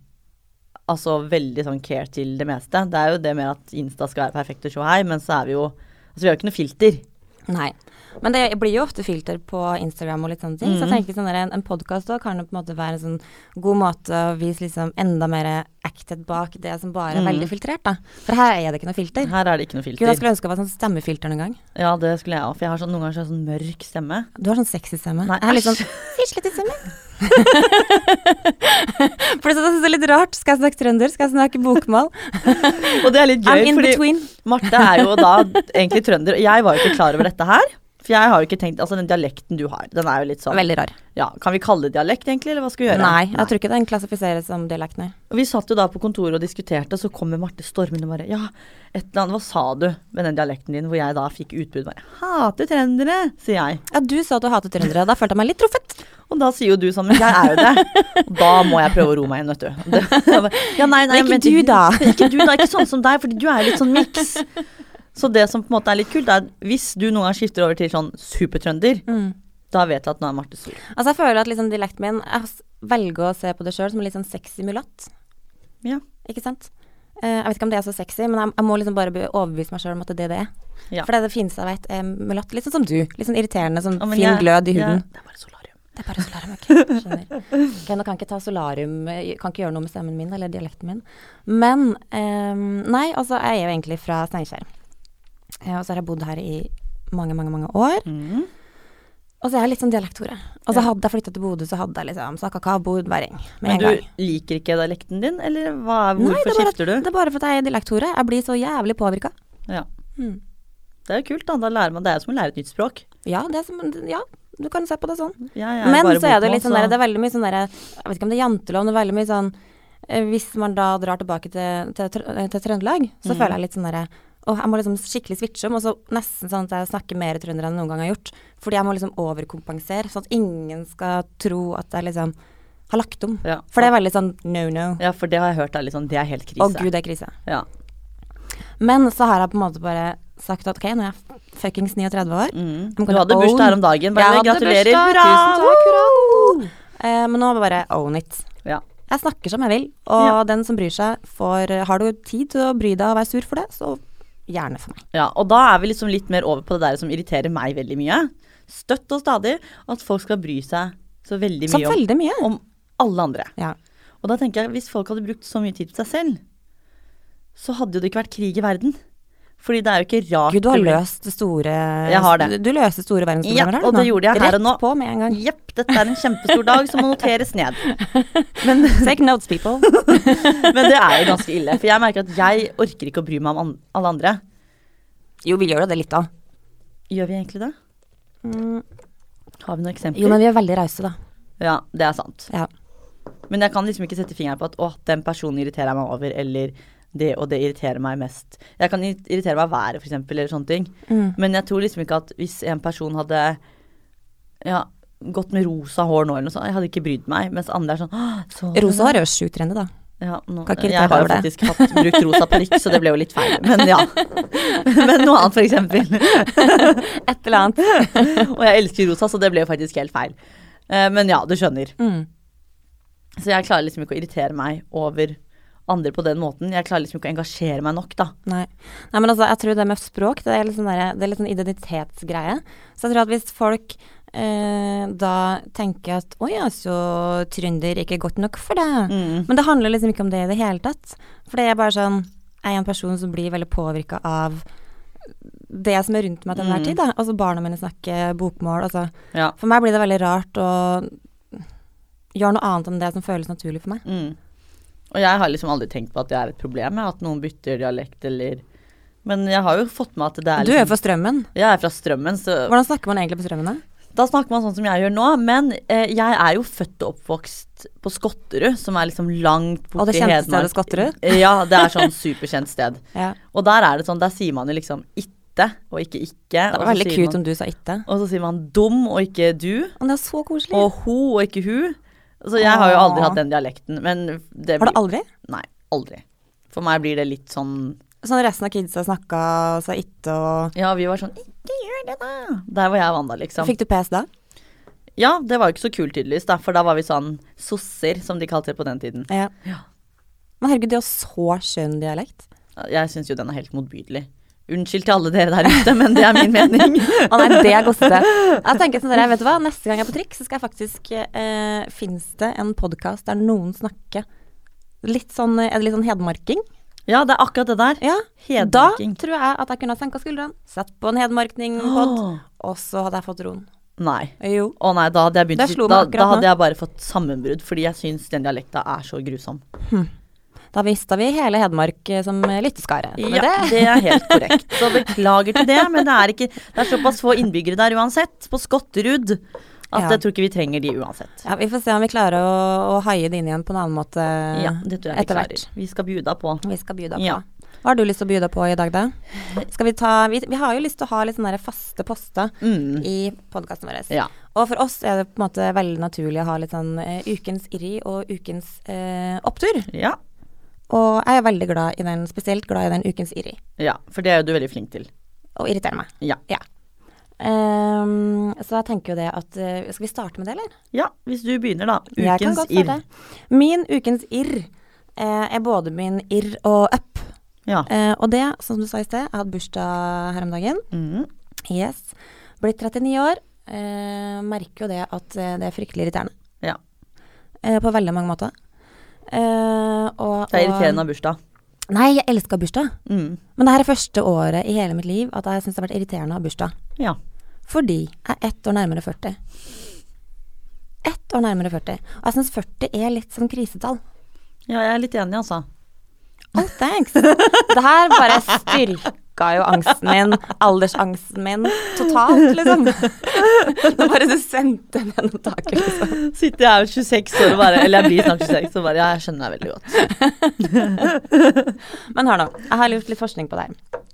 [SPEAKER 1] Altså veldig sånn care til det meste. Det er jo det med at Insta skal være perfekt og se her, men så er vi jo Altså vi har jo ikke noe filter.
[SPEAKER 2] Nei. Men det blir jo ofte filter på Instagram og litt sånne ting. Så
[SPEAKER 1] Mm.
[SPEAKER 2] jeg tenker sånn der, en, en podkast kan jo på en måte være en sånn god måte å vise liksom enda mer acted bak det som bare er veldig filtrert, da. For her er det ikke noe filter.
[SPEAKER 1] Her er Mm. det ikke noe
[SPEAKER 2] Gud, jeg
[SPEAKER 1] filter.
[SPEAKER 2] skulle ønske det var sånn stemmefilter noen gang.
[SPEAKER 1] Ja, det skulle jeg òg, for jeg har sånn, noen ganger så har jeg sånn mørk stemme.
[SPEAKER 2] Du har sånn sexy stemme.
[SPEAKER 1] Nei,
[SPEAKER 2] Jeg har litt sånn
[SPEAKER 1] æsj.
[SPEAKER 2] fislete stemme. For det er sånn- det er litt rart. Skal jeg snakke trønder? Skal jeg snakke bokmål?
[SPEAKER 1] Og det er litt gøy,
[SPEAKER 2] I'm in
[SPEAKER 1] fordi
[SPEAKER 2] between.
[SPEAKER 1] Marte er jo da egentlig trønder, og jeg var jo ikke klar over dette her. For jeg har jo ikke tenkt, altså den dialekten du har, den er jo litt sånn
[SPEAKER 2] Veldig rar.
[SPEAKER 1] ja, Kan vi kalle det dialekt egentlig, eller hva skal vi gjøre?
[SPEAKER 2] Nei, jeg tror ikke den klassifiseres som dialekt, nei.
[SPEAKER 1] Og vi satt jo da på kontoret og diskuterte, og så kommer Marte stormende og bare Ja, et eller annet, hva sa du med den dialekten din? Hvor jeg da fikk utbrudd bare Hater trøndere, sier jeg.
[SPEAKER 2] Ja, du sa at du hatet trøndere, og da følte jeg meg litt truffet.
[SPEAKER 1] Og da sier jo du sånn, men jeg er jo det. Og da må jeg prøve å roe meg inn, vet du. Det, jeg bare, ja, nei, nei,
[SPEAKER 2] Men ikke
[SPEAKER 1] jeg
[SPEAKER 2] du da.
[SPEAKER 1] Ikke du da, ikke sånn som deg, fordi du er litt sånn miks. Så det som på en måte er litt kult, er at hvis du noen gang skifter over til sånn supertrønder, da vet jeg at nå er Marte sur.
[SPEAKER 2] Altså, jeg føler at liksom dialekten min Jeg s- velger å se på det sjøl som en litt sånn sexy mulatt,
[SPEAKER 1] Ja.
[SPEAKER 2] ikke sant? Eh, jeg vet ikke om det er så sexy, men jeg, jeg må liksom bare be- overbevise meg sjøl om at det er det det er.
[SPEAKER 1] Ja.
[SPEAKER 2] For det er det fineste jeg vet, er mulatt. Litt sånn som du. Litt sånn irriterende, sånn
[SPEAKER 1] Ja, men
[SPEAKER 2] fin
[SPEAKER 1] jeg-
[SPEAKER 2] glød i
[SPEAKER 1] jeg-
[SPEAKER 2] huden.
[SPEAKER 1] det er bare solarium.
[SPEAKER 2] Det er bare solarium, ok. Skjønner. Ok, nå kan jeg ikke ta solarium, eh, kan ikke gjøre noe med stemmen min eller dialekten min. Men ehm, nei, altså jeg er jo egentlig fra Steinkjer. Eh, Og så har jeg bodd her i mange, mange, mange år. Og så er jeg litt sånn dialekthore. Og så hadde jeg flytta til Bodø, så hadde jeg liksom snakka kabodværing med
[SPEAKER 1] Men
[SPEAKER 2] en
[SPEAKER 1] du
[SPEAKER 2] gang.
[SPEAKER 1] liker ikke dialekten din, eller hva,
[SPEAKER 2] Nei,
[SPEAKER 1] hvorfor
[SPEAKER 2] det er bare-
[SPEAKER 1] skifter du?
[SPEAKER 2] Det er bare fordi jeg er dialekthore. Jeg blir så jævlig påvirka.
[SPEAKER 1] Ja.
[SPEAKER 2] Mm.
[SPEAKER 1] Det er jo kult, da. Da lærer man det er jo som å lære et nytt språk.
[SPEAKER 2] Ja, det er som, ja, du kan se på det sånn.
[SPEAKER 1] Jeg er
[SPEAKER 2] Men
[SPEAKER 1] bare
[SPEAKER 2] så er det
[SPEAKER 1] bokmål,
[SPEAKER 2] litt sånn
[SPEAKER 1] så-
[SPEAKER 2] der, det er veldig mye sånn der, jeg vet ikke om det er jantelov, men det er veldig mye sånn, eh, hvis man da drar tilbake til, til, Tr- eh, til Trøndelag,
[SPEAKER 1] Mm.
[SPEAKER 2] så føler jeg litt sånn der, åh, jeg må liksom skikkelig switche om, og så nesten sånn at jeg snakker mer trønder enn jeg noen gang har gjort, fordi jeg må liksom overkompensere, sånn at ingen skal tro at jeg liksom har lagt om.
[SPEAKER 1] Ja.
[SPEAKER 2] For det er veldig sånn no-no.
[SPEAKER 1] ja, for det har jeg hørt er litt sånn Det er helt krise.
[SPEAKER 2] Å gud, det er krise.
[SPEAKER 1] Ja.
[SPEAKER 2] Men så har jeg på en måte bare sagt at, ok, nå er jeg fuckings 39 år,
[SPEAKER 1] Mm.
[SPEAKER 2] I'm
[SPEAKER 1] Du
[SPEAKER 2] gonna
[SPEAKER 1] hadde bursdag her om dagen. Bare
[SPEAKER 2] Jeg hadde
[SPEAKER 1] gratulerer.
[SPEAKER 2] bursdag,
[SPEAKER 1] Hurra!
[SPEAKER 2] tusen takk,
[SPEAKER 1] Woo!
[SPEAKER 2] Eh, men nå bare own it.
[SPEAKER 1] Ja.
[SPEAKER 2] Jeg snakker som jeg vil, og
[SPEAKER 1] Ja.
[SPEAKER 2] den som bryr seg, får Har du tid til å bry deg og være sur for det, så gjerne for meg.
[SPEAKER 1] Ja, og da er vi liksom litt mer over på det der som irriterer meg veldig mye. Støtt og stadig at folk skal bry seg så veldig
[SPEAKER 2] Så
[SPEAKER 1] mye om,
[SPEAKER 2] veldig mye.
[SPEAKER 1] om alle andre.
[SPEAKER 2] Ja.
[SPEAKER 1] Og da tenker jeg, hvis folk hadde brukt så mye tid på seg selv, så hadde jo det ikke vært krig i verden. Fordi det er jo ikke rart
[SPEAKER 2] Gud, du har
[SPEAKER 1] det blir-
[SPEAKER 2] løst det store
[SPEAKER 1] Jeg har det.
[SPEAKER 2] Du løste store verdensproblemer
[SPEAKER 1] Ja,
[SPEAKER 2] her, du,
[SPEAKER 1] og det gjorde jeg her
[SPEAKER 2] Rett
[SPEAKER 1] og nå.
[SPEAKER 2] på med en gang.
[SPEAKER 1] Jepp, dette er en kjempestor dag som må noteres ned.
[SPEAKER 2] Take notes, people.
[SPEAKER 1] Men det er jo ganske ille. For jeg merker at jeg orker ikke å bry meg om an- alle andre.
[SPEAKER 2] Jo, vi gjør jo det litt, da.
[SPEAKER 1] Gjør vi egentlig det?
[SPEAKER 2] Mm.
[SPEAKER 1] Har vi noen eksempler?
[SPEAKER 2] Jo, men vi er veldig rause, da.
[SPEAKER 1] Ja, det er sant.
[SPEAKER 2] Ja.
[SPEAKER 1] Men jeg kan liksom ikke sette fingeren på at å, den personen irriterer jeg meg over, eller det og det irriterer meg mest. Jeg kan ir- irritere meg av været, f.eks., eller sånne ting.
[SPEAKER 2] Mm.
[SPEAKER 1] Men jeg tror liksom ikke at hvis en person hadde ja, gått med rosa hår nå, eller noe sånt, jeg hadde ikke brydd meg. Mens andre er sånn «Åh, så du
[SPEAKER 2] Rosa
[SPEAKER 1] det?»
[SPEAKER 2] hår er jo sjukt trendy, da.
[SPEAKER 1] Ja, nå,
[SPEAKER 2] Kan ikke irritere
[SPEAKER 1] jeg har jo
[SPEAKER 2] over det.
[SPEAKER 1] faktisk hatt, brukt rosa parykk, så det ble jo litt feil. Men ja. Men noe annet, for eksempel.
[SPEAKER 2] Et eller annet.
[SPEAKER 1] Og jeg elsker rosa, så det ble jo faktisk helt feil. Eh, Men ja, du skjønner.
[SPEAKER 2] Mm.
[SPEAKER 1] Så jeg klarer liksom ikke å irritere meg over andre på den måten. Jeg klarer liksom ikke å engasjere meg nok, da.
[SPEAKER 2] Nei. Nei, men altså, jeg tror det med språk, det er litt sånn, derre- det er litt sånn identitetsgreie. Så jeg tror at hvis folk eh, da tenker at å ja, så trønder ikke er godt nok for deg.
[SPEAKER 1] Mm.
[SPEAKER 2] Men det handler liksom ikke om det i det hele tatt. For det er bare sånn, jeg er en person som blir veldig påvirka av det som er rundt meg til enhver
[SPEAKER 1] Mm.
[SPEAKER 2] tid, da. Altså barna mine snakker bokmål, altså.
[SPEAKER 1] Ja.
[SPEAKER 2] For meg blir det veldig rart å gjøre noe annet enn det som føles naturlig for meg.
[SPEAKER 1] Mm. Og jeg har liksom aldri tenkt på at det er et problem, jeg, at noen bytter dialekt eller Men jeg har jo fått med at det er
[SPEAKER 2] Du er jo
[SPEAKER 1] liksom
[SPEAKER 2] fra Strømmen.
[SPEAKER 1] Jeg er fra Strømmen, så
[SPEAKER 2] Hvordan snakker man egentlig på Strømmen, da?
[SPEAKER 1] Da snakker man sånn som jeg gjør nå, men eh, jeg er jo født og oppvokst på Skotterud, som er liksom langt
[SPEAKER 2] Og
[SPEAKER 1] borti
[SPEAKER 2] det kjente stedet Skotterud?
[SPEAKER 1] Ja, det er sånn superkjent sted.
[SPEAKER 2] Ja.
[SPEAKER 1] Og der er det sånn, der sier man jo liksom itte og ikke ikke.
[SPEAKER 2] Det
[SPEAKER 1] og
[SPEAKER 2] var
[SPEAKER 1] så
[SPEAKER 2] veldig
[SPEAKER 1] sier
[SPEAKER 2] cute
[SPEAKER 1] man-
[SPEAKER 2] om du sa itte.
[SPEAKER 1] Og så sier man dum og ikke du,
[SPEAKER 2] Men det er så koselig.
[SPEAKER 1] og ho og ikke hu. Så jeg har jo aldri
[SPEAKER 2] Åh.
[SPEAKER 1] hatt den dialekten, men det
[SPEAKER 2] har du
[SPEAKER 1] blir
[SPEAKER 2] aldri?
[SPEAKER 1] Nei, aldri. For meg blir det litt sånn
[SPEAKER 2] Sånn resten av kidsa snakka og sa itte og
[SPEAKER 1] Ja, vi var sånn Ikke gjør det, da! Der var jeg og Wanda, liksom.
[SPEAKER 2] Fikk du PS da?
[SPEAKER 1] Ja, det var jo ikke så kult, tydeligvis, da, for da var vi sånn sosser, som de kalte det på den tiden.
[SPEAKER 2] Ja.
[SPEAKER 1] Ja.
[SPEAKER 2] Men herregud, det er jo så skjønn dialekt.
[SPEAKER 1] Jeg syns jo den er helt motbydelig. Unnskyld til alle dere der ute, men det er min mening.
[SPEAKER 2] Å nei, det er gossete. Jeg tenker sånn der, vet du hva, neste gang jeg er på trikk, så skal jeg faktisk eh, Fins det en podkast der noen snakker litt sånn Er det litt sånn hedmarking?
[SPEAKER 1] Ja, det er akkurat det der.
[SPEAKER 2] Ja.
[SPEAKER 1] Hedmarking.
[SPEAKER 2] Da tror jeg at jeg kunne ha senka skuldrene, satt på en hedmarkning-pod,
[SPEAKER 1] Åh.
[SPEAKER 2] og så hadde jeg fått roen.
[SPEAKER 1] Nei.
[SPEAKER 2] Jo.
[SPEAKER 1] Å nei, da hadde jeg begynt
[SPEAKER 2] Det slo
[SPEAKER 1] da,
[SPEAKER 2] meg akkurat
[SPEAKER 1] da hadde
[SPEAKER 2] nå.
[SPEAKER 1] jeg bare fått sammenbrudd, fordi jeg syns den dialekta er så grusom.
[SPEAKER 2] Da mista vi hele Hedmark eh, som eh, lytteskare. Det var
[SPEAKER 1] Ja,
[SPEAKER 2] det.
[SPEAKER 1] det er helt korrekt. Så beklager til det, men det er, ikke, det er såpass få innbyggere der uansett, på Skotterud, at
[SPEAKER 2] Ja.
[SPEAKER 1] jeg tror ikke vi trenger de uansett.
[SPEAKER 2] Ja, vi får se om vi klarer å, å haie det inn igjen på en annen måte
[SPEAKER 1] Ja, det tror jeg vi
[SPEAKER 2] Eh, etter hvert.
[SPEAKER 1] klarer. Vi skal bjuda på.
[SPEAKER 2] Vi skal by deg på.
[SPEAKER 1] Ja.
[SPEAKER 2] Hva har du lyst til å by deg på i dag, da? Skal vi, ta, vi, vi har jo lyst til å ha litt sånne der faste poster
[SPEAKER 1] Mm.
[SPEAKER 2] i podkasten vår.
[SPEAKER 1] Ja.
[SPEAKER 2] Og for oss er det på en måte veldig naturlig å ha litt sånn eh, ukens irri og ukens eh, opptur.
[SPEAKER 1] Ja.
[SPEAKER 2] Og jeg er veldig glad i den, spesielt glad i den ukens irri.
[SPEAKER 1] ja, for det er jo du veldig flink til.
[SPEAKER 2] Og irriterer meg.
[SPEAKER 1] Ja.
[SPEAKER 2] Ja. Ehm, så jeg tenker jo det at eh, Skal vi starte med det, eller?
[SPEAKER 1] ja, hvis du begynner da.
[SPEAKER 2] Jeg kan
[SPEAKER 1] Ukens
[SPEAKER 2] godt
[SPEAKER 1] irr.
[SPEAKER 2] starte. Min ukens irr eh, er både min irr og up.
[SPEAKER 1] Ja.
[SPEAKER 2] Eh, og det, som du sa i sted, jeg hadde bursdag her om dagen.
[SPEAKER 1] Mm.
[SPEAKER 2] Yes. Blitt 39 år. Eh, merker jo det at eh, det er fryktelig irriterende.
[SPEAKER 1] ja.
[SPEAKER 2] Eh, på veldig mange måter. Eh, og,
[SPEAKER 1] Det er
[SPEAKER 2] og-
[SPEAKER 1] irriterende av bursdag.
[SPEAKER 2] Nei, jeg elsker bursdag.
[SPEAKER 1] Mm.
[SPEAKER 2] Men det her er første året i hele mitt liv at jeg syns det har vært irriterende å ha bursdag.
[SPEAKER 1] Ja.
[SPEAKER 2] Fordi jeg er ett år nærmere 40. Ett år nærmere 40. Og jeg syns 40 er litt som krisetall.
[SPEAKER 1] ja, jeg er litt enig, altså.
[SPEAKER 2] Oh, thanks. Det her bare styrka jo angsten min, aldersangsten min, totalt, liksom. Det bare du sendte den gjennom taket, liksom.
[SPEAKER 1] Sitter jeg er 26 år og bare Eller jeg blir snart 26 og bare Ja, jeg skjønner deg veldig godt.
[SPEAKER 2] Men hør nå, jeg har gjort litt forskning på det her.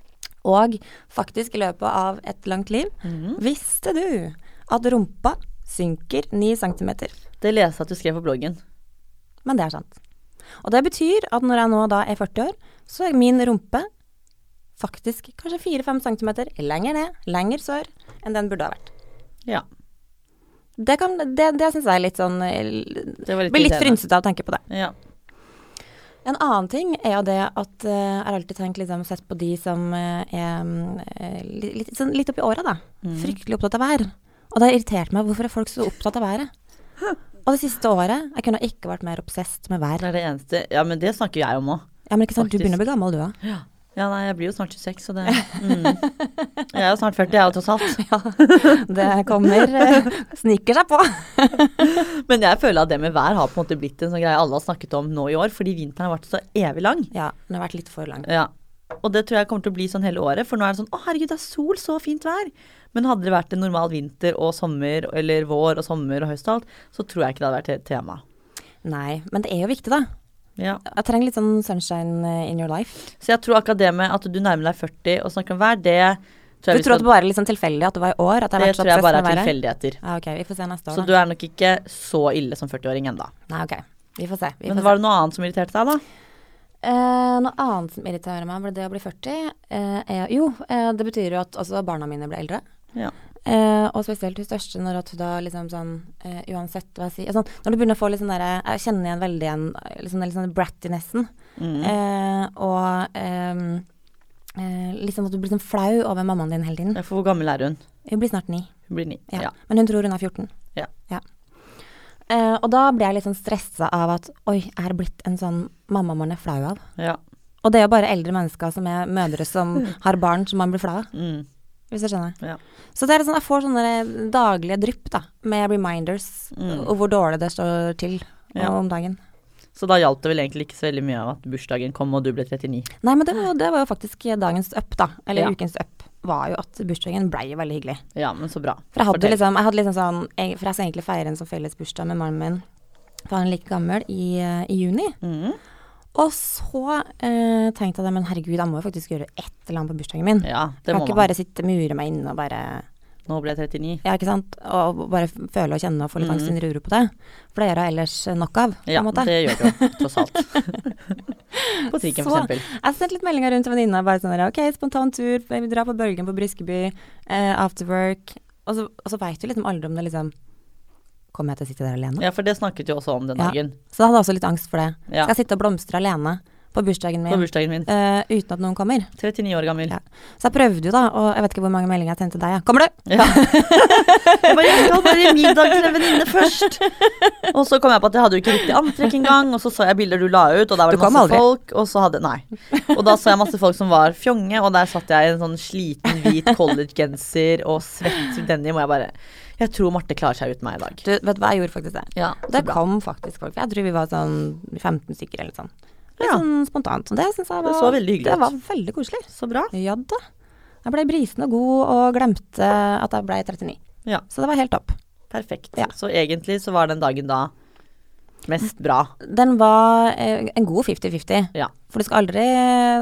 [SPEAKER 2] Og faktisk i løpet av et langt liv, visste du at rumpa synker 9 cm?
[SPEAKER 1] Det leste jeg at du skrev på bloggen.
[SPEAKER 2] Men det er sant. Og det betyr at når jeg nå da er 40 år, så er min rumpe faktisk kanskje 4-5 cm lenger ned, lenger sør, enn den burde ha vært.
[SPEAKER 1] Ja.
[SPEAKER 2] Det, kan, det, det syns jeg er litt sånn eh,
[SPEAKER 1] Det var litt
[SPEAKER 2] Blir litt
[SPEAKER 1] irriterende.
[SPEAKER 2] frynsete av å tenke på det.
[SPEAKER 1] Ja.
[SPEAKER 2] En annen ting er jo det at eh, jeg har alltid tenkt liksom, sett på de som eh, er mm, eh, li- litt, sånn, litt oppi åra, da.
[SPEAKER 1] Mm.
[SPEAKER 2] Fryktelig opptatt av vær. Og det har irritert meg. Hvorfor er folk så opptatt av været? Og det siste året Jeg kunne ikke vært mer obsesst med vær.
[SPEAKER 1] Det er det eneste Ja, men det snakker jeg om òg.
[SPEAKER 2] Ja, men ikke sant, Du
[SPEAKER 1] Faktisk.
[SPEAKER 2] begynner å bli gammel, du òg.
[SPEAKER 1] Ja, nei, jeg blir jo snart 26, så det mm. Jeg er jo snart 40, jeg er jo tross alt.
[SPEAKER 2] Det kommer eh, Sniker seg på.
[SPEAKER 1] Men jeg føler at det med vær har på en måte blitt en sånn greie alle har snakket om nå i år, fordi vinteren har vært så evig lang.
[SPEAKER 2] Ja, den har vært litt for lang.
[SPEAKER 1] Ja. Og det tror jeg kommer til å bli sånn hele året, for nå er det sånn å herregud, det er sol, så fint vær. Men hadde det vært en normal vinter og sommer, eller vår og sommer og høst og alt, så tror jeg ikke det hadde vært et tema.
[SPEAKER 2] Nei, men det er jo viktig, da.
[SPEAKER 1] Ja.
[SPEAKER 2] Jeg trenger litt sånn sunshine eh, in your life.
[SPEAKER 1] Så jeg tror akkurat det med at du nærmer deg 40 og snakker om vær, det
[SPEAKER 2] Du
[SPEAKER 1] tror jeg, vi
[SPEAKER 2] tror at det
[SPEAKER 1] skal,
[SPEAKER 2] bare er litt sånn tilfeldig at det var i år? At jeg har
[SPEAKER 1] det
[SPEAKER 2] vært så
[SPEAKER 1] tror jeg
[SPEAKER 2] obsesst
[SPEAKER 1] bare
[SPEAKER 2] med
[SPEAKER 1] er
[SPEAKER 2] været?
[SPEAKER 1] tilfeldigheter.
[SPEAKER 2] Ja, ok, vi får se neste år,
[SPEAKER 1] Så
[SPEAKER 2] da.
[SPEAKER 1] du er nok ikke så ille som 40-åring ennå.
[SPEAKER 2] Nei, ok. Vi får se. Vi
[SPEAKER 1] Men
[SPEAKER 2] får
[SPEAKER 1] var
[SPEAKER 2] se.
[SPEAKER 1] det noe annet som irriterte deg, da?
[SPEAKER 2] Eh, noe annet som irriterer meg, ble det å bli 40. Eh, er, jo, eh, det betyr jo at også barna mine ble eldre.
[SPEAKER 1] Ja.
[SPEAKER 2] Eh, og spesielt hun største, når at hun da liksom sånn eh, Uansett hva jeg sier sånn, Når du begynner å få litt sånn derre Jeg kjenner igjen veldig igjen eh, liksom, den litt sånn brattinessen.
[SPEAKER 1] Mm.
[SPEAKER 2] Eh, og ehm, eh, liksom at du blir sånn flau over mammaen din hele tiden.
[SPEAKER 1] Ja, For hvor gammel er hun?
[SPEAKER 2] Hun blir snart ni.
[SPEAKER 1] Hun blir ni.
[SPEAKER 2] Ja.
[SPEAKER 1] Ja.
[SPEAKER 2] Men hun tror hun er 14.
[SPEAKER 1] Ja.
[SPEAKER 2] Eh, og da blir jeg litt sånn stressa av at oi, jeg er blitt en sånn mamma man er flau av.
[SPEAKER 1] ja.
[SPEAKER 2] Og det er jo bare eldre mennesker som er mødre som har barn som man blir flau av,
[SPEAKER 1] Mm.
[SPEAKER 2] hvis jeg skjønner.
[SPEAKER 1] ja.
[SPEAKER 2] Så det er litt sånn, jeg får sånne daglige drypp da, med reminders
[SPEAKER 1] Mm.
[SPEAKER 2] og hvor dårlig det står til
[SPEAKER 1] Ja.
[SPEAKER 2] om dagen.
[SPEAKER 1] Så da hjalp det vel egentlig ikke så veldig mye av at bursdagen kom og du ble 39.
[SPEAKER 2] Nei, men det var, jo- det var jo faktisk dagens up, da. Eller
[SPEAKER 1] Ja.
[SPEAKER 2] ukens up. Var jo at bursdagen blei jo veldig hyggelig.
[SPEAKER 1] Ja, men så bra.
[SPEAKER 2] For jeg hadde
[SPEAKER 1] Fortell.
[SPEAKER 2] liksom, jeg hadde liksom sånn jeg, For jeg skal egentlig feire en sånn felles bursdag med mannen min, for han er like gammel, i, eh, i juni.
[SPEAKER 1] Mhm.
[SPEAKER 2] Og så eh, tenkte jeg da, men herregud, jeg må jo faktisk gjøre et eller annet på bursdagen min.
[SPEAKER 1] Ja, det
[SPEAKER 2] jeg
[SPEAKER 1] må
[SPEAKER 2] kan ikke
[SPEAKER 1] man.
[SPEAKER 2] bare sitte mure meg inne og bare
[SPEAKER 1] Nå ble jeg 39.
[SPEAKER 2] Ja, ikke sant? Og bare føle og kjenne og få litt angst under uro på det. For det gjør jeg ellers nok av, på
[SPEAKER 1] Mhm. Ja,
[SPEAKER 2] en måte.
[SPEAKER 1] det gjør det jo, tross alt. På trikken, for
[SPEAKER 2] Så-
[SPEAKER 1] eksempel.
[SPEAKER 2] Jeg sendte litt meldinger rundt til venninna. Bare sånn der, OK, spontan tur. Vi drar på Bølgen på Briskeby. Eh, Afterwork. Og så, og så veit du liksom aldri om det liksom Kommer jeg til å sitte der alene?
[SPEAKER 1] Ja, for det snakket jo også om den
[SPEAKER 2] Ja.
[SPEAKER 1] dagen.
[SPEAKER 2] Så da hadde jeg også litt angst for det.
[SPEAKER 1] Ja.
[SPEAKER 2] Skal jeg sitte og blomstre alene på bursdagen min
[SPEAKER 1] På bursdagen min.
[SPEAKER 2] eh, uten at noen kommer?
[SPEAKER 1] 39 år gammel.
[SPEAKER 2] Ja. Så jeg prøvde jo, da, og jeg vet ikke hvor mange meldinger jeg sendte til deg. Ja. Kommer du?
[SPEAKER 1] Ja. Jeg bare, jeg skal bare i middag til en venninne først. Og så kom jeg på at jeg hadde jo ikke riktig antrekk engang, og så så jeg bilder du la ut, og der var det
[SPEAKER 2] Du kom
[SPEAKER 1] masse
[SPEAKER 2] aldri.
[SPEAKER 1] folk, og så hadde Nei. Og da så jeg masse folk som var fjonge, og der satt jeg i en sånn sliten hvit collegegenser og svett denim, og jeg bare Jeg tror Marte klarer seg uten meg i dag.
[SPEAKER 2] du? Vet du hva, jeg gjorde faktisk det.
[SPEAKER 1] Ja,
[SPEAKER 2] Det
[SPEAKER 1] så bra.
[SPEAKER 2] kom faktisk folk. Jeg tror vi var sånn 15 stykker eller sånn. Litt
[SPEAKER 1] Ja.
[SPEAKER 2] sånn spontant. Og det syns jeg var
[SPEAKER 1] Det så veldig hyggelig
[SPEAKER 2] Det
[SPEAKER 1] ut.
[SPEAKER 2] var veldig koselig.
[SPEAKER 1] Så bra.
[SPEAKER 2] Ja da. Jeg ble brisen og god og glemte at jeg ble 39.
[SPEAKER 1] Ja,
[SPEAKER 2] Så det var helt topp.
[SPEAKER 1] perfekt.
[SPEAKER 2] Ja.
[SPEAKER 1] Så egentlig så var den dagen da mest bra.
[SPEAKER 2] Den var eh, en god 50-50.
[SPEAKER 1] Ja.
[SPEAKER 2] For du skal aldri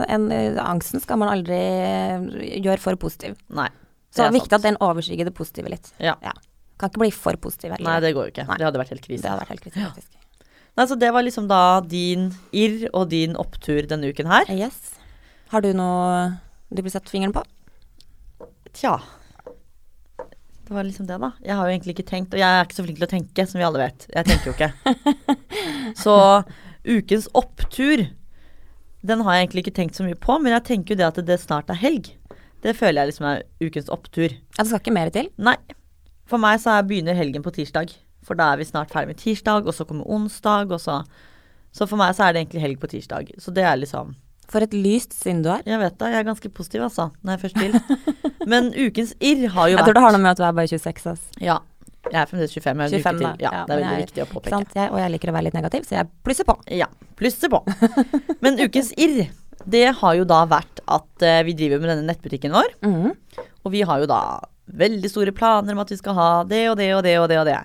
[SPEAKER 2] en, eh, Angsten skal man aldri eh, gjøre for positiv.
[SPEAKER 1] Nei.
[SPEAKER 2] Så det
[SPEAKER 1] er
[SPEAKER 2] er viktig
[SPEAKER 1] sant.
[SPEAKER 2] at den overskygger det positive litt.
[SPEAKER 1] Ja.
[SPEAKER 2] Kan ikke bli for positiv heller.
[SPEAKER 1] Nei, det går jo ikke.
[SPEAKER 2] Nei.
[SPEAKER 1] Det hadde vært helt
[SPEAKER 2] Det
[SPEAKER 1] krise.
[SPEAKER 2] hadde vært helt kritisk. faktisk.
[SPEAKER 1] Nei, så det var liksom da din irr og din opptur denne uken her.
[SPEAKER 2] Eh, Yes. Har du noe du vil sette fingeren på?
[SPEAKER 1] Tja. Det var liksom det, da. Jeg har jo egentlig ikke tenkt, og jeg er ikke så flink til å tenke, som vi alle vet. Jeg tenker jo ikke. Så ukens opptur, den har jeg egentlig ikke tenkt så mye på, men jeg tenker jo det at det snart er helg. Det føler jeg liksom er ukens opptur.
[SPEAKER 2] Ja, det skal ikke mer til.
[SPEAKER 1] Nei. For meg så er, begynner helgen på tirsdag. For da er vi snart ferdig med tirsdag, og så kommer onsdag, og så Så for meg så er det egentlig helg på tirsdag. Så det er liksom
[SPEAKER 2] For et lyst sinn du har.
[SPEAKER 1] Jeg vet det, jeg er ganske positiv altså, når jeg først vil. Men ukens irr har jo
[SPEAKER 2] Jeg
[SPEAKER 1] vært
[SPEAKER 2] tror det har noe med at du er bare 26. ass.
[SPEAKER 1] Ja, jeg er fremdeles 25. Jeg er
[SPEAKER 2] 25
[SPEAKER 1] 25 til. Ja, det er
[SPEAKER 2] men
[SPEAKER 1] veldig
[SPEAKER 2] jeg-
[SPEAKER 1] viktig å
[SPEAKER 2] ikke
[SPEAKER 1] påpeke.
[SPEAKER 2] sant? Jeg, og jeg liker å være litt negativ, så jeg plusser på.
[SPEAKER 1] Ja, plusser på. Men ukens irr, det har jo da vært at eh, vi driver med denne nettbutikken vår,
[SPEAKER 2] Mhm.
[SPEAKER 1] og vi har jo da veldig store planer om at vi skal ha det og det og det og det og det.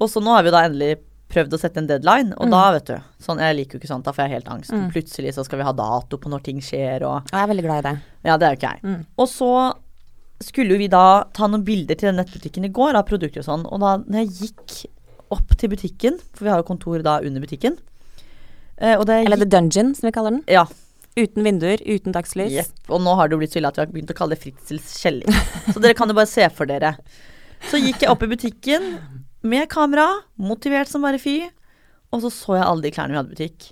[SPEAKER 1] Og så nå har vi jo da endelig prøvd å sette en deadline, og da, vet du sånn, Jeg liker jo ikke sånt, da får jeg helt angst. Plutselig så skal vi ha dato på når ting skjer, og
[SPEAKER 2] Og jeg er veldig glad i det.
[SPEAKER 1] Ja, det er jo ikke jeg. Og så skulle jo vi da ta noen bilder til den nettbutikken i går av produkter og sånn. Og da når jeg gikk opp til butikken, for vi har jo kontor da under butikken eh, og det
[SPEAKER 2] Eller The Dungeon, som vi kaller den.
[SPEAKER 1] ja,
[SPEAKER 2] Uten vinduer, uten dagslys.
[SPEAKER 1] jepp. Og nå har det jo blitt så ille at vi har begynt å kalle det Fritzels kjeller. Så dere kan jo bare se for dere. Så gikk jeg opp i butikken med kamera, motivert som bare fy. Og så så jeg alle de klærne vi hadde i butikk.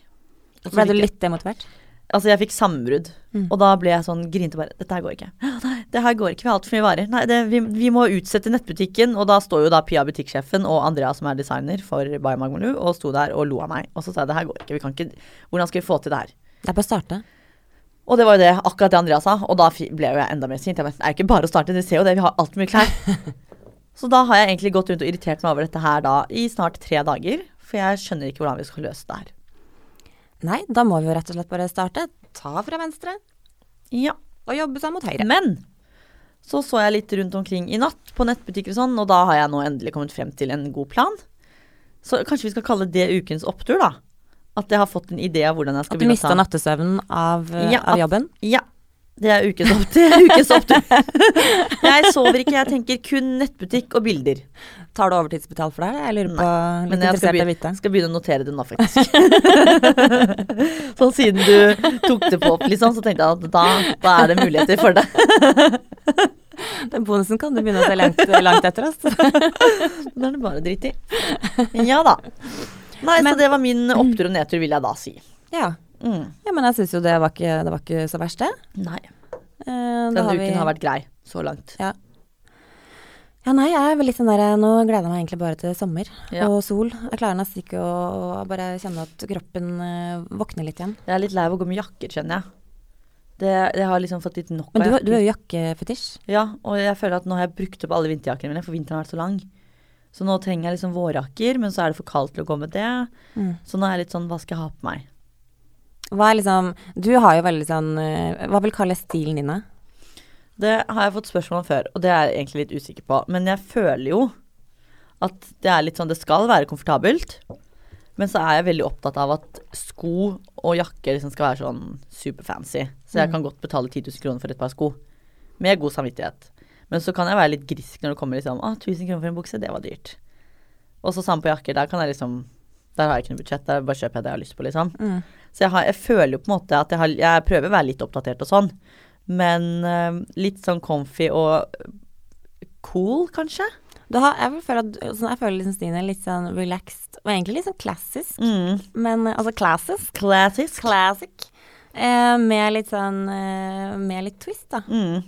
[SPEAKER 1] Og så
[SPEAKER 2] Ble du
[SPEAKER 1] fikk jeg-
[SPEAKER 2] litt demotivert?
[SPEAKER 1] Altså, jeg fikk sammenbrudd. Og da ble jeg sånn grinte bare Dette her går ikke. «Å, Nei, det her går ikke. Vi har altfor mye varer. Nei, det, vi, vi må utsette nettbutikken. Og da står jo da Pia, butikksjefen, og Andrea, som er designer for By Magmaloo, og sto der og lo av meg. Og så sa jeg det her går ikke. Vi kan ikke Hvordan skal vi få til det her?
[SPEAKER 2] Det er bare å starte.
[SPEAKER 1] Og det var jo det, akkurat det Andrea sa, og da fi- ble jo jeg enda mer sint. Jeg bare, det er jo ikke bare å starte, dere ser jo det, vi har altfor mye klær. så da har jeg egentlig gått rundt og irritert meg over dette her da i snart tre dager, for jeg skjønner ikke hvordan vi skal løse det her.
[SPEAKER 2] Nei, da må vi jo rett og slett bare starte. Ta fra venstre
[SPEAKER 1] Ja.
[SPEAKER 2] og jobbe seg mot høyre.
[SPEAKER 1] Men så så jeg litt rundt omkring i natt på nettbutikker og sånn, og da har jeg nå endelig kommet frem til en god plan. Så kanskje vi skal kalle det ukens opptur, da. At jeg har fått en idé av hvordan jeg skal
[SPEAKER 2] At du mista nattesøvnen av, eh,
[SPEAKER 1] Ja,
[SPEAKER 2] av
[SPEAKER 1] at-
[SPEAKER 2] jobben.
[SPEAKER 1] Ja. Det er ukens opptur. ukens opptur. jeg sover ikke, jeg tenker kun nettbutikk og bilder.
[SPEAKER 2] Tar du overtidsbetalt for det? eller? Jeg lurer på litt
[SPEAKER 1] Men jeg skal,
[SPEAKER 2] interessert i å
[SPEAKER 1] begynne,
[SPEAKER 2] vite.
[SPEAKER 1] skal begynne å notere det nå, faktisk. sånn siden du tok det på opp, liksom, så tenkte jeg at da, da er det muligheter for det.
[SPEAKER 2] Den bonusen kan du begynne å se langt, langt etter. Altså.
[SPEAKER 1] Da er det bare dritt i. Ja da. Nei,
[SPEAKER 2] Men-
[SPEAKER 1] så det var min opptur og nedtur, vil jeg da si.
[SPEAKER 2] Ja.
[SPEAKER 1] Mm.
[SPEAKER 2] ja, men jeg syns jo det var, ikke, det var ikke så verst, det.
[SPEAKER 1] Nei.
[SPEAKER 2] Eh, da
[SPEAKER 1] Denne
[SPEAKER 2] har vi-
[SPEAKER 1] uken har vært grei så langt.
[SPEAKER 2] Ja. Ja, nei, jeg er vel litt sånn der Nå gleder jeg meg egentlig bare til sommer
[SPEAKER 1] Ja.
[SPEAKER 2] og sol. Jeg klarer nesten ikke å å bare kjenne at kroppen eh, våkner litt igjen.
[SPEAKER 1] Jeg er litt lei av å gå med jakker, kjenner jeg. Det, jeg har liksom fått litt nok
[SPEAKER 2] Men du,
[SPEAKER 1] av
[SPEAKER 2] har- du er jo jakkefetisj.
[SPEAKER 1] Ja, og jeg føler at nå har jeg brukt opp alle vinterjakkene mine, for vinteren har vært så lang. Så nå trenger jeg liksom vårjakker, men så er det for kaldt til å gå med det.
[SPEAKER 2] Mm.
[SPEAKER 1] Så nå er jeg litt sånn, hva skal jeg ha på meg?
[SPEAKER 2] Hva er liksom Du har jo veldig sånn eh, Hva vil kalle stilen din, da?
[SPEAKER 1] Det har jeg fått spørsmål om før, og det er jeg egentlig litt usikker på. Men jeg føler jo at det er litt sånn, det skal være komfortabelt. Men så er jeg veldig opptatt av at sko og jakke liksom skal være sånn superfancy. Så jeg kan godt betale 10 000 kroner for et par sko. Med god samvittighet. Men så kan jeg være litt grisk når det kommer liksom ah, 1000 kroner for en bukse, det var dyrt. Og så samme på jakker. Der kan jeg liksom Der har jeg ikke noe budsjett, der bare kjøper jeg det jeg har lyst på, liksom.
[SPEAKER 2] Mm.
[SPEAKER 1] Så jeg, har, jeg føler jo på en måte at jeg, har, jeg prøver å være litt oppdatert og sånn. Men eh, litt sånn comfy og cool, kanskje.
[SPEAKER 2] Du har, jeg, vil føle at, du- sånn, jeg føler liksom stilen din er litt sånn relaxed, og egentlig litt sånn klassisk.
[SPEAKER 1] Mm.
[SPEAKER 2] Men eh, altså klassisk.
[SPEAKER 1] Klassisk.
[SPEAKER 2] Classic. Eh, med litt sånn eh, Med litt twist, da.
[SPEAKER 1] Mm.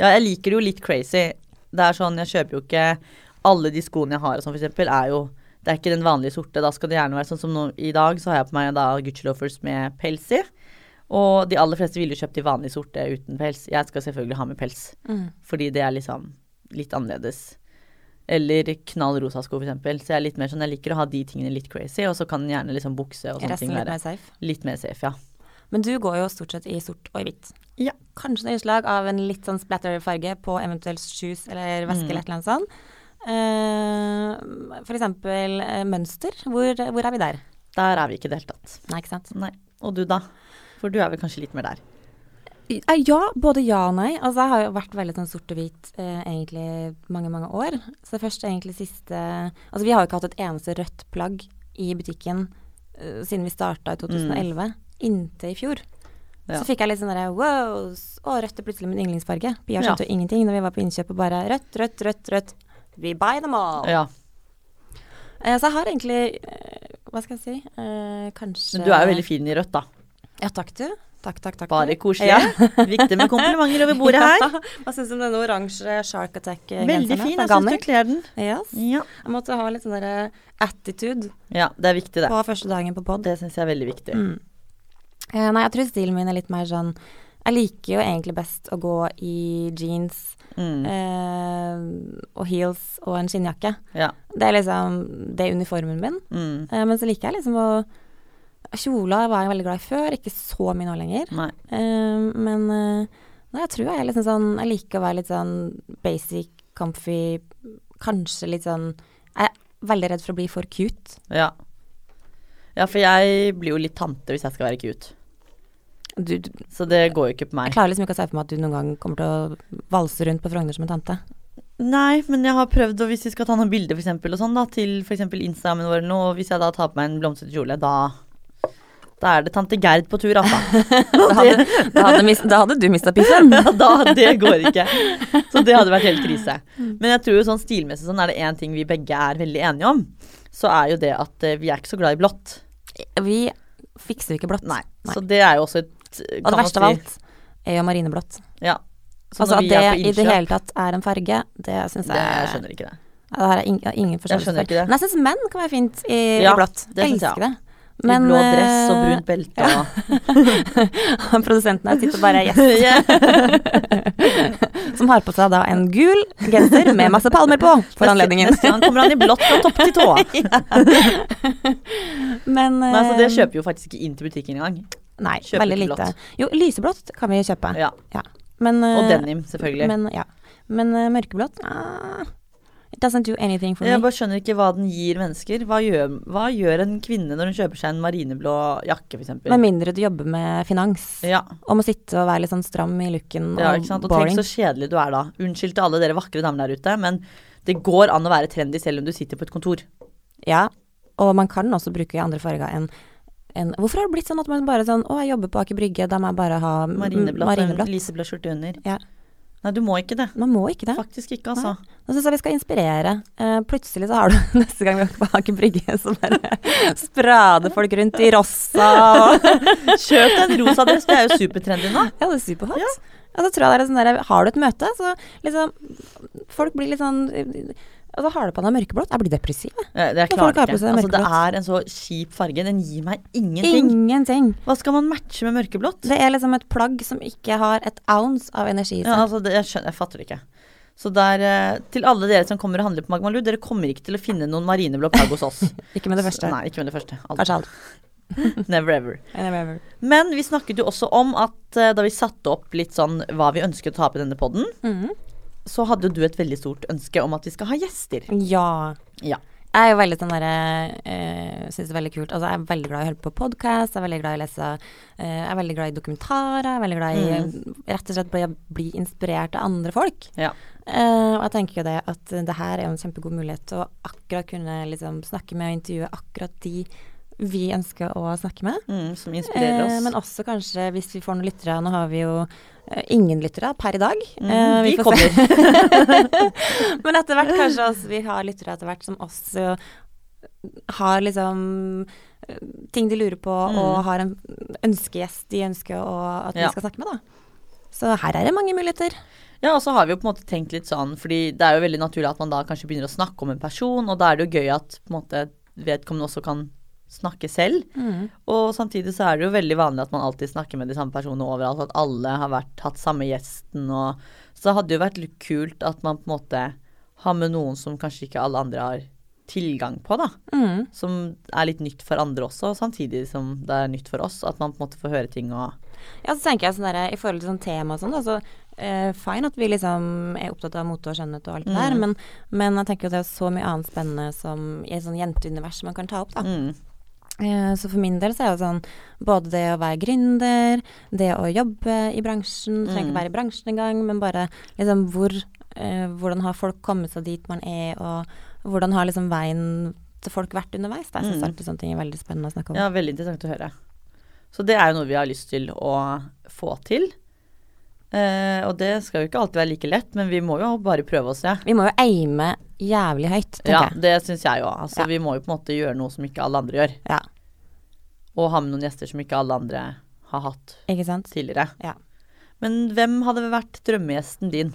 [SPEAKER 1] Ja, jeg liker det jo litt crazy. Det er sånn, jeg kjøper jo ikke alle de skoene jeg har og sånn, for eksempel, er jo Det er ikke den vanlige sorte. Da skal det gjerne være sånn som nå i dag, så har jeg på meg da Gucci loafers med pels i. Og de aller fleste ville jo kjøpt de vanlige sorte uten pels. Jeg skal selvfølgelig ha med pels,
[SPEAKER 2] Mm.
[SPEAKER 1] fordi det er liksom litt annerledes. Eller knall rosa sko, for eksempel. Så jeg er litt mer sånn, jeg liker å ha de tingene litt crazy, og så kan gjerne liksom bukse og sånne
[SPEAKER 2] Resten
[SPEAKER 1] ting
[SPEAKER 2] litt
[SPEAKER 1] være
[SPEAKER 2] mer safe.
[SPEAKER 1] litt mer safe, ja.
[SPEAKER 2] Men du går jo stort sett i sort og i hvitt.
[SPEAKER 1] Ja.
[SPEAKER 2] Kanskje noe innslag av en litt sånn splatter-farge på eventuelt shoes eller veske
[SPEAKER 1] Mm.
[SPEAKER 2] eller et eller annet sånt. Eh, for eksempel eh, mønster. Hvor, hvor er vi der?
[SPEAKER 1] Der er vi ikke i det hele tatt.
[SPEAKER 2] Nei, ikke sant?
[SPEAKER 1] Nei. Og du, da? For du er vel kanskje litt mer der.
[SPEAKER 2] Eh, Ja, både ja og nei. Altså, jeg har jo vært veldig sånn sort og hvit eh, egentlig mange, mange år. Så det første egentlig siste Altså, vi har jo ikke hatt et eneste rødt plagg i butikken eh, siden vi starta i 2011, inntil i fjor.
[SPEAKER 1] Mm. Ja.
[SPEAKER 2] Så fikk jeg litt sånn derre wow, s- å, rødt er plutselig min yndlingsfarge. Vi har
[SPEAKER 1] Ja.
[SPEAKER 2] skjønt jo ingenting når vi var på innkjøp og bare rødt, rødt, rødt, rødt. We buy them all.
[SPEAKER 1] Ja.
[SPEAKER 2] Eh, så jeg har egentlig eh, Hva skal jeg si? Eh, kanskje
[SPEAKER 1] Men du er jo veldig fin i rødt, da.
[SPEAKER 2] Ja, takk du. Takk, takk, takk.
[SPEAKER 1] Bare
[SPEAKER 2] du.
[SPEAKER 1] koselig. Viktig med komplimenter over bordet her.
[SPEAKER 2] Ja. Hva syns du om denne oransje Shark Attack-genseren?
[SPEAKER 1] Veldig fin. Jeg syns du kler den.
[SPEAKER 2] Yes.
[SPEAKER 1] Ja.
[SPEAKER 2] Jeg måtte ha litt sånn der attitude
[SPEAKER 1] ja, det er viktig, det.
[SPEAKER 2] på første dagen på pod.
[SPEAKER 1] Det syns jeg er veldig viktig.
[SPEAKER 2] Mm. Eh, nei, jeg tror stilen min er litt mer sånn Jeg liker jo egentlig best å gå i jeans
[SPEAKER 1] Mm.
[SPEAKER 2] eh, og heels og en skinnjakke.
[SPEAKER 1] Ja.
[SPEAKER 2] Det er liksom det er uniformen min.
[SPEAKER 1] Mm.
[SPEAKER 2] Eh, men så liker jeg liksom å Kjola var jeg veldig glad i før, ikke så mye nå lenger.
[SPEAKER 1] Nei.
[SPEAKER 2] Eh, men eh, nei, jeg tror jeg er liksom sånn Jeg liker å være litt sånn basic, comfy, kanskje litt sånn Jeg er veldig redd for å bli for cute.
[SPEAKER 1] Ja. ja, for jeg blir jo litt tante hvis jeg skal være cute.
[SPEAKER 2] Du, du,
[SPEAKER 1] Så det går jo ikke på
[SPEAKER 2] jeg
[SPEAKER 1] meg.
[SPEAKER 2] klarer liksom ikke å se for meg at du noen gang kommer til å valse rundt på Frogner som en tante.
[SPEAKER 1] Nei, men jeg har prøvd, og hvis vi skal ta noen bilder for eksempel, og sånn da, til f.eks. Instagramen vår eller noe, og hvis jeg da tar på meg en blomstrete kjole, da Da er det tante Gerd på tur, altså.
[SPEAKER 2] Da hadde, da hadde, mis, da hadde du mista piffen.
[SPEAKER 1] Ja, da, det går ikke. Så det hadde vært helt krise.
[SPEAKER 2] Mm.
[SPEAKER 1] Men jeg tror jo sånn stilmessig sånn er det én ting vi begge er veldig enige om, så er jo det at eh, vi er ikke så glad i blått.
[SPEAKER 2] Vi fikser jo ikke blått.
[SPEAKER 1] Nei.
[SPEAKER 2] Nei.
[SPEAKER 1] Så det er jo også et eh,
[SPEAKER 2] Og det verste av alt er jo marineblått.
[SPEAKER 1] Ja. Så
[SPEAKER 2] Altså
[SPEAKER 1] når
[SPEAKER 2] at
[SPEAKER 1] vi
[SPEAKER 2] det
[SPEAKER 1] er på
[SPEAKER 2] i det
[SPEAKER 1] innkjøp,
[SPEAKER 2] hele tatt er en farge, det syns jeg
[SPEAKER 1] det, Jeg skjønner ikke det.
[SPEAKER 2] Det har jeg ing- jeg har ingen
[SPEAKER 1] Jeg
[SPEAKER 2] forståelse
[SPEAKER 1] skjønner ikke det.
[SPEAKER 2] Men jeg syns menn kan være fint i,
[SPEAKER 1] Ja,
[SPEAKER 2] i blått.
[SPEAKER 1] det
[SPEAKER 2] Jeg
[SPEAKER 1] synes jeg
[SPEAKER 2] elsker det.
[SPEAKER 1] I blå dress og
[SPEAKER 2] eh,
[SPEAKER 1] brunt belte og
[SPEAKER 2] Produsenten her sitter bare yes,
[SPEAKER 1] Yeah.
[SPEAKER 2] som har på seg da en gul genser med masse palmer på for
[SPEAKER 1] Neste-
[SPEAKER 2] anledningen.
[SPEAKER 1] Neste gang kommer han i blått fra topp til tå.
[SPEAKER 2] Men
[SPEAKER 1] Nei, så det
[SPEAKER 2] eh,
[SPEAKER 1] kjøper jo faktisk ikke inn til butikken engang.
[SPEAKER 2] Nei,
[SPEAKER 1] kjøper
[SPEAKER 2] veldig
[SPEAKER 1] ikke
[SPEAKER 2] lite.
[SPEAKER 1] blått.
[SPEAKER 2] Jo, lyseblått kan vi kjøpe.
[SPEAKER 1] Ja.
[SPEAKER 2] Men, eh,
[SPEAKER 1] Og denim, selvfølgelig.
[SPEAKER 2] Men, ja. men eh, mørkeblått ah, It doesn't do anything for
[SPEAKER 1] Jeg
[SPEAKER 2] me.
[SPEAKER 1] bare skjønner ikke hva den gir mennesker. Hva gjør, hva gjør en kvinne når hun kjøper seg en marineblå jakke, for eksempel?
[SPEAKER 2] Med mindre du jobber med finans.
[SPEAKER 1] Ja,
[SPEAKER 2] Og må sitte og være litt sånn stram i looken
[SPEAKER 1] ja,
[SPEAKER 2] og
[SPEAKER 1] ikke sant? Og tenk
[SPEAKER 2] boring.
[SPEAKER 1] så kjedelig du er da. Unnskyld til alle dere vakre damer der ute, men det går an å være trendy selv om du sitter på et kontor.
[SPEAKER 2] Ja, og man kan også bruke andre farger enn enn- Hvorfor har det blitt sånn at man bare sånn Å, jeg jobber på Aker Brygge, da må jeg bare ha m-
[SPEAKER 1] Marineblått og en
[SPEAKER 2] marineblått.
[SPEAKER 1] lyseblå skjorte under.
[SPEAKER 2] Ja.
[SPEAKER 1] Nei, du må ikke det.
[SPEAKER 2] Man må ikke det.
[SPEAKER 1] Faktisk ikke, altså.
[SPEAKER 2] Nå syns jeg vi skal inspirere. Eh, plutselig så har du neste gang vi er på Aker Brygge, så bare sprader folk rundt i rossa og
[SPEAKER 1] Kjøp deg en rosa dress, det er jo supertrendy nå.
[SPEAKER 2] Ja, det er superhot. Og så tror jeg det er sånn der Har du et møte, så liksom Folk blir litt sånn Og så har du på deg mørkeblått. Jeg blir depressiv. jeg.
[SPEAKER 1] Eh, Det
[SPEAKER 2] Men
[SPEAKER 1] klarer
[SPEAKER 2] folk har
[SPEAKER 1] jeg ikke.
[SPEAKER 2] på seg
[SPEAKER 1] Altså, det
[SPEAKER 2] mørkeblått.
[SPEAKER 1] er en så kjip farge. Den gir meg ingenting.
[SPEAKER 2] Ingenting.
[SPEAKER 1] Hva skal man matche med mørkeblått?
[SPEAKER 2] Det er liksom et plagg som ikke har et ounce av energi i
[SPEAKER 1] Ja,
[SPEAKER 2] seg.
[SPEAKER 1] altså, det, jeg, skjønner, jeg fatter det ikke. Så der, eh, til alle dere som kommer og handler på Magmaloo, dere kommer ikke til å finne noen marineblå plagg hos oss.
[SPEAKER 2] Ikke med det første.
[SPEAKER 1] Nei, ikke med det første. Aldri.
[SPEAKER 2] Kanskje alt.
[SPEAKER 1] Never ever. Men vi snakket jo også om at eh, da vi satte opp litt sånn hva vi ønsket å ta opp i denne podden,
[SPEAKER 2] Mhm.
[SPEAKER 1] så hadde jo du et veldig stort ønske om at vi skal ha gjester.
[SPEAKER 2] Ja.
[SPEAKER 1] Ja.
[SPEAKER 2] Jeg er jo veldig sånn derre eh, Syns det er veldig kult. Altså, jeg er veldig glad i å høre på podkast, jeg er veldig glad i å lese eh, Jeg er veldig glad i dokumentarer, jeg er veldig glad i eh, rett og slett bli, bli inspirert av andre folk.
[SPEAKER 1] Mm. Ja.
[SPEAKER 2] Eh, og jeg tenker jo det at det her er jo en kjempegod mulighet til å akkurat kunne liksom snakke med og intervjue akkurat de vi ønsker å snakke med.
[SPEAKER 1] Mm, som inspirerer oss.
[SPEAKER 2] Eh, men også kanskje hvis vi får noen lyttere. Nå har vi jo eh, ingen lyttere per i dag.
[SPEAKER 1] Mm,
[SPEAKER 2] Eh, vi
[SPEAKER 1] de
[SPEAKER 2] får se.
[SPEAKER 1] kommer.
[SPEAKER 2] Men etter hvert kanskje også, vi har lyttere etter hvert som også har liksom eh, ting de lurer på, og har en ønskegjest de ønsker å, at
[SPEAKER 1] Ja.
[SPEAKER 2] vi skal snakke med, da. Så her er det mange muligheter.
[SPEAKER 1] Ja, og så har vi jo på en måte tenkt litt sånn, fordi det er jo veldig naturlig at man da kanskje begynner å snakke om en person, og da er det jo gøy at på en måte vedkommende også kan snakke selv. Og samtidig så er det jo veldig vanlig at man alltid snakker med de samme personene overalt, at alle har vært, hatt samme gjesten og Så det hadde jo vært litt kult at man på en måte har med noen som kanskje ikke alle andre har tilgang på, da.
[SPEAKER 2] Mm.
[SPEAKER 1] Som er litt nytt for andre også, samtidig som det er nytt for oss. At man på en måte får høre ting og
[SPEAKER 2] Ja, så tenker jeg sånn der, I forhold til sånn tema og sånn, da, så eh, fine at vi liksom er opptatt av mote og skjønnhet og alt det der, men, men jeg tenker jo det er så mye annet spennende som i et sånn jenteunivers man kan ta opp, da.
[SPEAKER 1] mm.
[SPEAKER 2] Eh, Så for min del så er det sånn både det å være gründer, det å jobbe i bransjen, du trenger
[SPEAKER 1] Mm.
[SPEAKER 2] ikke være i bransjen engang, men bare liksom hvor eh, Hvordan har folk kommet seg dit man er, og hvordan har liksom veien til folk vært underveis? Da. Jeg syns alltid sånne ting er veldig spennende å snakke om.
[SPEAKER 1] Mm. Ja, veldig interessant å høre. Så det er jo noe vi har lyst til å få til. Eh, og det skal jo ikke alltid være like lett, men vi må jo bare prøve oss, ja.
[SPEAKER 2] Vi må jo aime jævlig høyt, tenker
[SPEAKER 1] Ja,
[SPEAKER 2] jeg.
[SPEAKER 1] det syns jeg òg. Altså,
[SPEAKER 2] Ja.
[SPEAKER 1] Vi må jo på en måte gjøre noe som ikke alle andre gjør.
[SPEAKER 2] Ja,
[SPEAKER 1] Og ha med noen gjester som ikke alle andre har hatt
[SPEAKER 2] ikke sant?
[SPEAKER 1] tidligere.
[SPEAKER 2] Ja.
[SPEAKER 1] Men hvem hadde vært drømmegjesten din?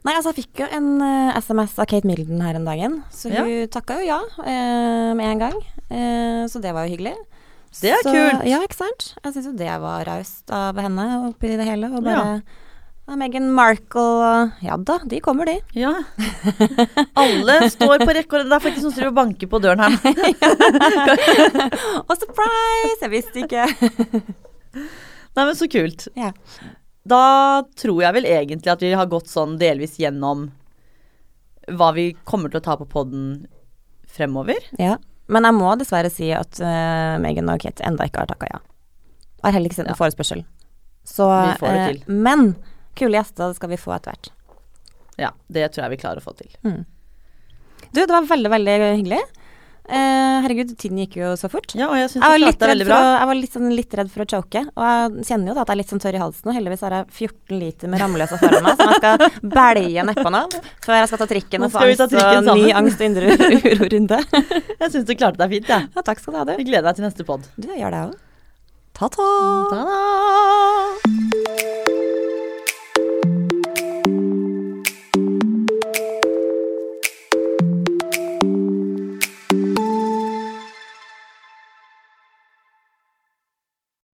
[SPEAKER 2] Nei, altså jeg fikk jo en eh, SMS av Kate Middleton her om dagen, så
[SPEAKER 1] Ja.
[SPEAKER 2] hun takka jo ja eh, med en gang. Eh, så det var jo hyggelig.
[SPEAKER 1] Det er
[SPEAKER 2] så,
[SPEAKER 1] kult.
[SPEAKER 2] Ja, ikke sant? Jeg syns jo det var raust av henne oppi det hele. Og bare
[SPEAKER 1] Ja.
[SPEAKER 2] ja, Meghan Markle og Ja da, de kommer, de.
[SPEAKER 1] Ja. Alle står på rekke og rad. Det er faktisk noen som driver og banker på døren her.
[SPEAKER 2] Og surprise! Jeg visste ikke.
[SPEAKER 1] Nei, men så kult.
[SPEAKER 2] ja.
[SPEAKER 1] Da tror jeg vel egentlig at vi har gått sånn delvis gjennom hva vi kommer til å ta på poden fremover.
[SPEAKER 2] ja. Men jeg må dessverre si at eh, Meghan og Kate enda ikke har takka ja. Har heller ikke sendt noen forespørsel. Så
[SPEAKER 1] Vi får det
[SPEAKER 2] eh,
[SPEAKER 1] til.
[SPEAKER 2] Men kule gjester skal vi få etter hvert.
[SPEAKER 1] Ja, det tror jeg vi klarer å få til.
[SPEAKER 2] Du, det var veldig, veldig hyggelig. Eh, herregud, tiden gikk jo så fort.
[SPEAKER 1] Ja, og jeg syns
[SPEAKER 2] Jeg var,
[SPEAKER 1] du
[SPEAKER 2] litt
[SPEAKER 1] klarte deg
[SPEAKER 2] redd
[SPEAKER 1] veldig
[SPEAKER 2] for å,
[SPEAKER 1] bra.
[SPEAKER 2] jeg var litt, sånn, litt redd for å choke, og jeg kjenner jo da at jeg er litt sånn tørr i halsen. Og heldigvis har jeg 14 liter med Ramløsa foran meg, som jeg skal belje nedpå nå. Før jeg skal ta trikken
[SPEAKER 1] Nå
[SPEAKER 2] og få
[SPEAKER 1] skal vi ta
[SPEAKER 2] angst og
[SPEAKER 1] trikken
[SPEAKER 2] ny
[SPEAKER 1] sammen.
[SPEAKER 2] angst og indre uro- urorunde.
[SPEAKER 1] Jeg syns du klarte deg fint, jeg.
[SPEAKER 2] Ja, takk skal du ha,
[SPEAKER 1] Jeg
[SPEAKER 2] du.
[SPEAKER 1] gleder meg til neste pod.
[SPEAKER 2] Du jeg gjør det òg. Ta-ta.
[SPEAKER 1] Ta-da!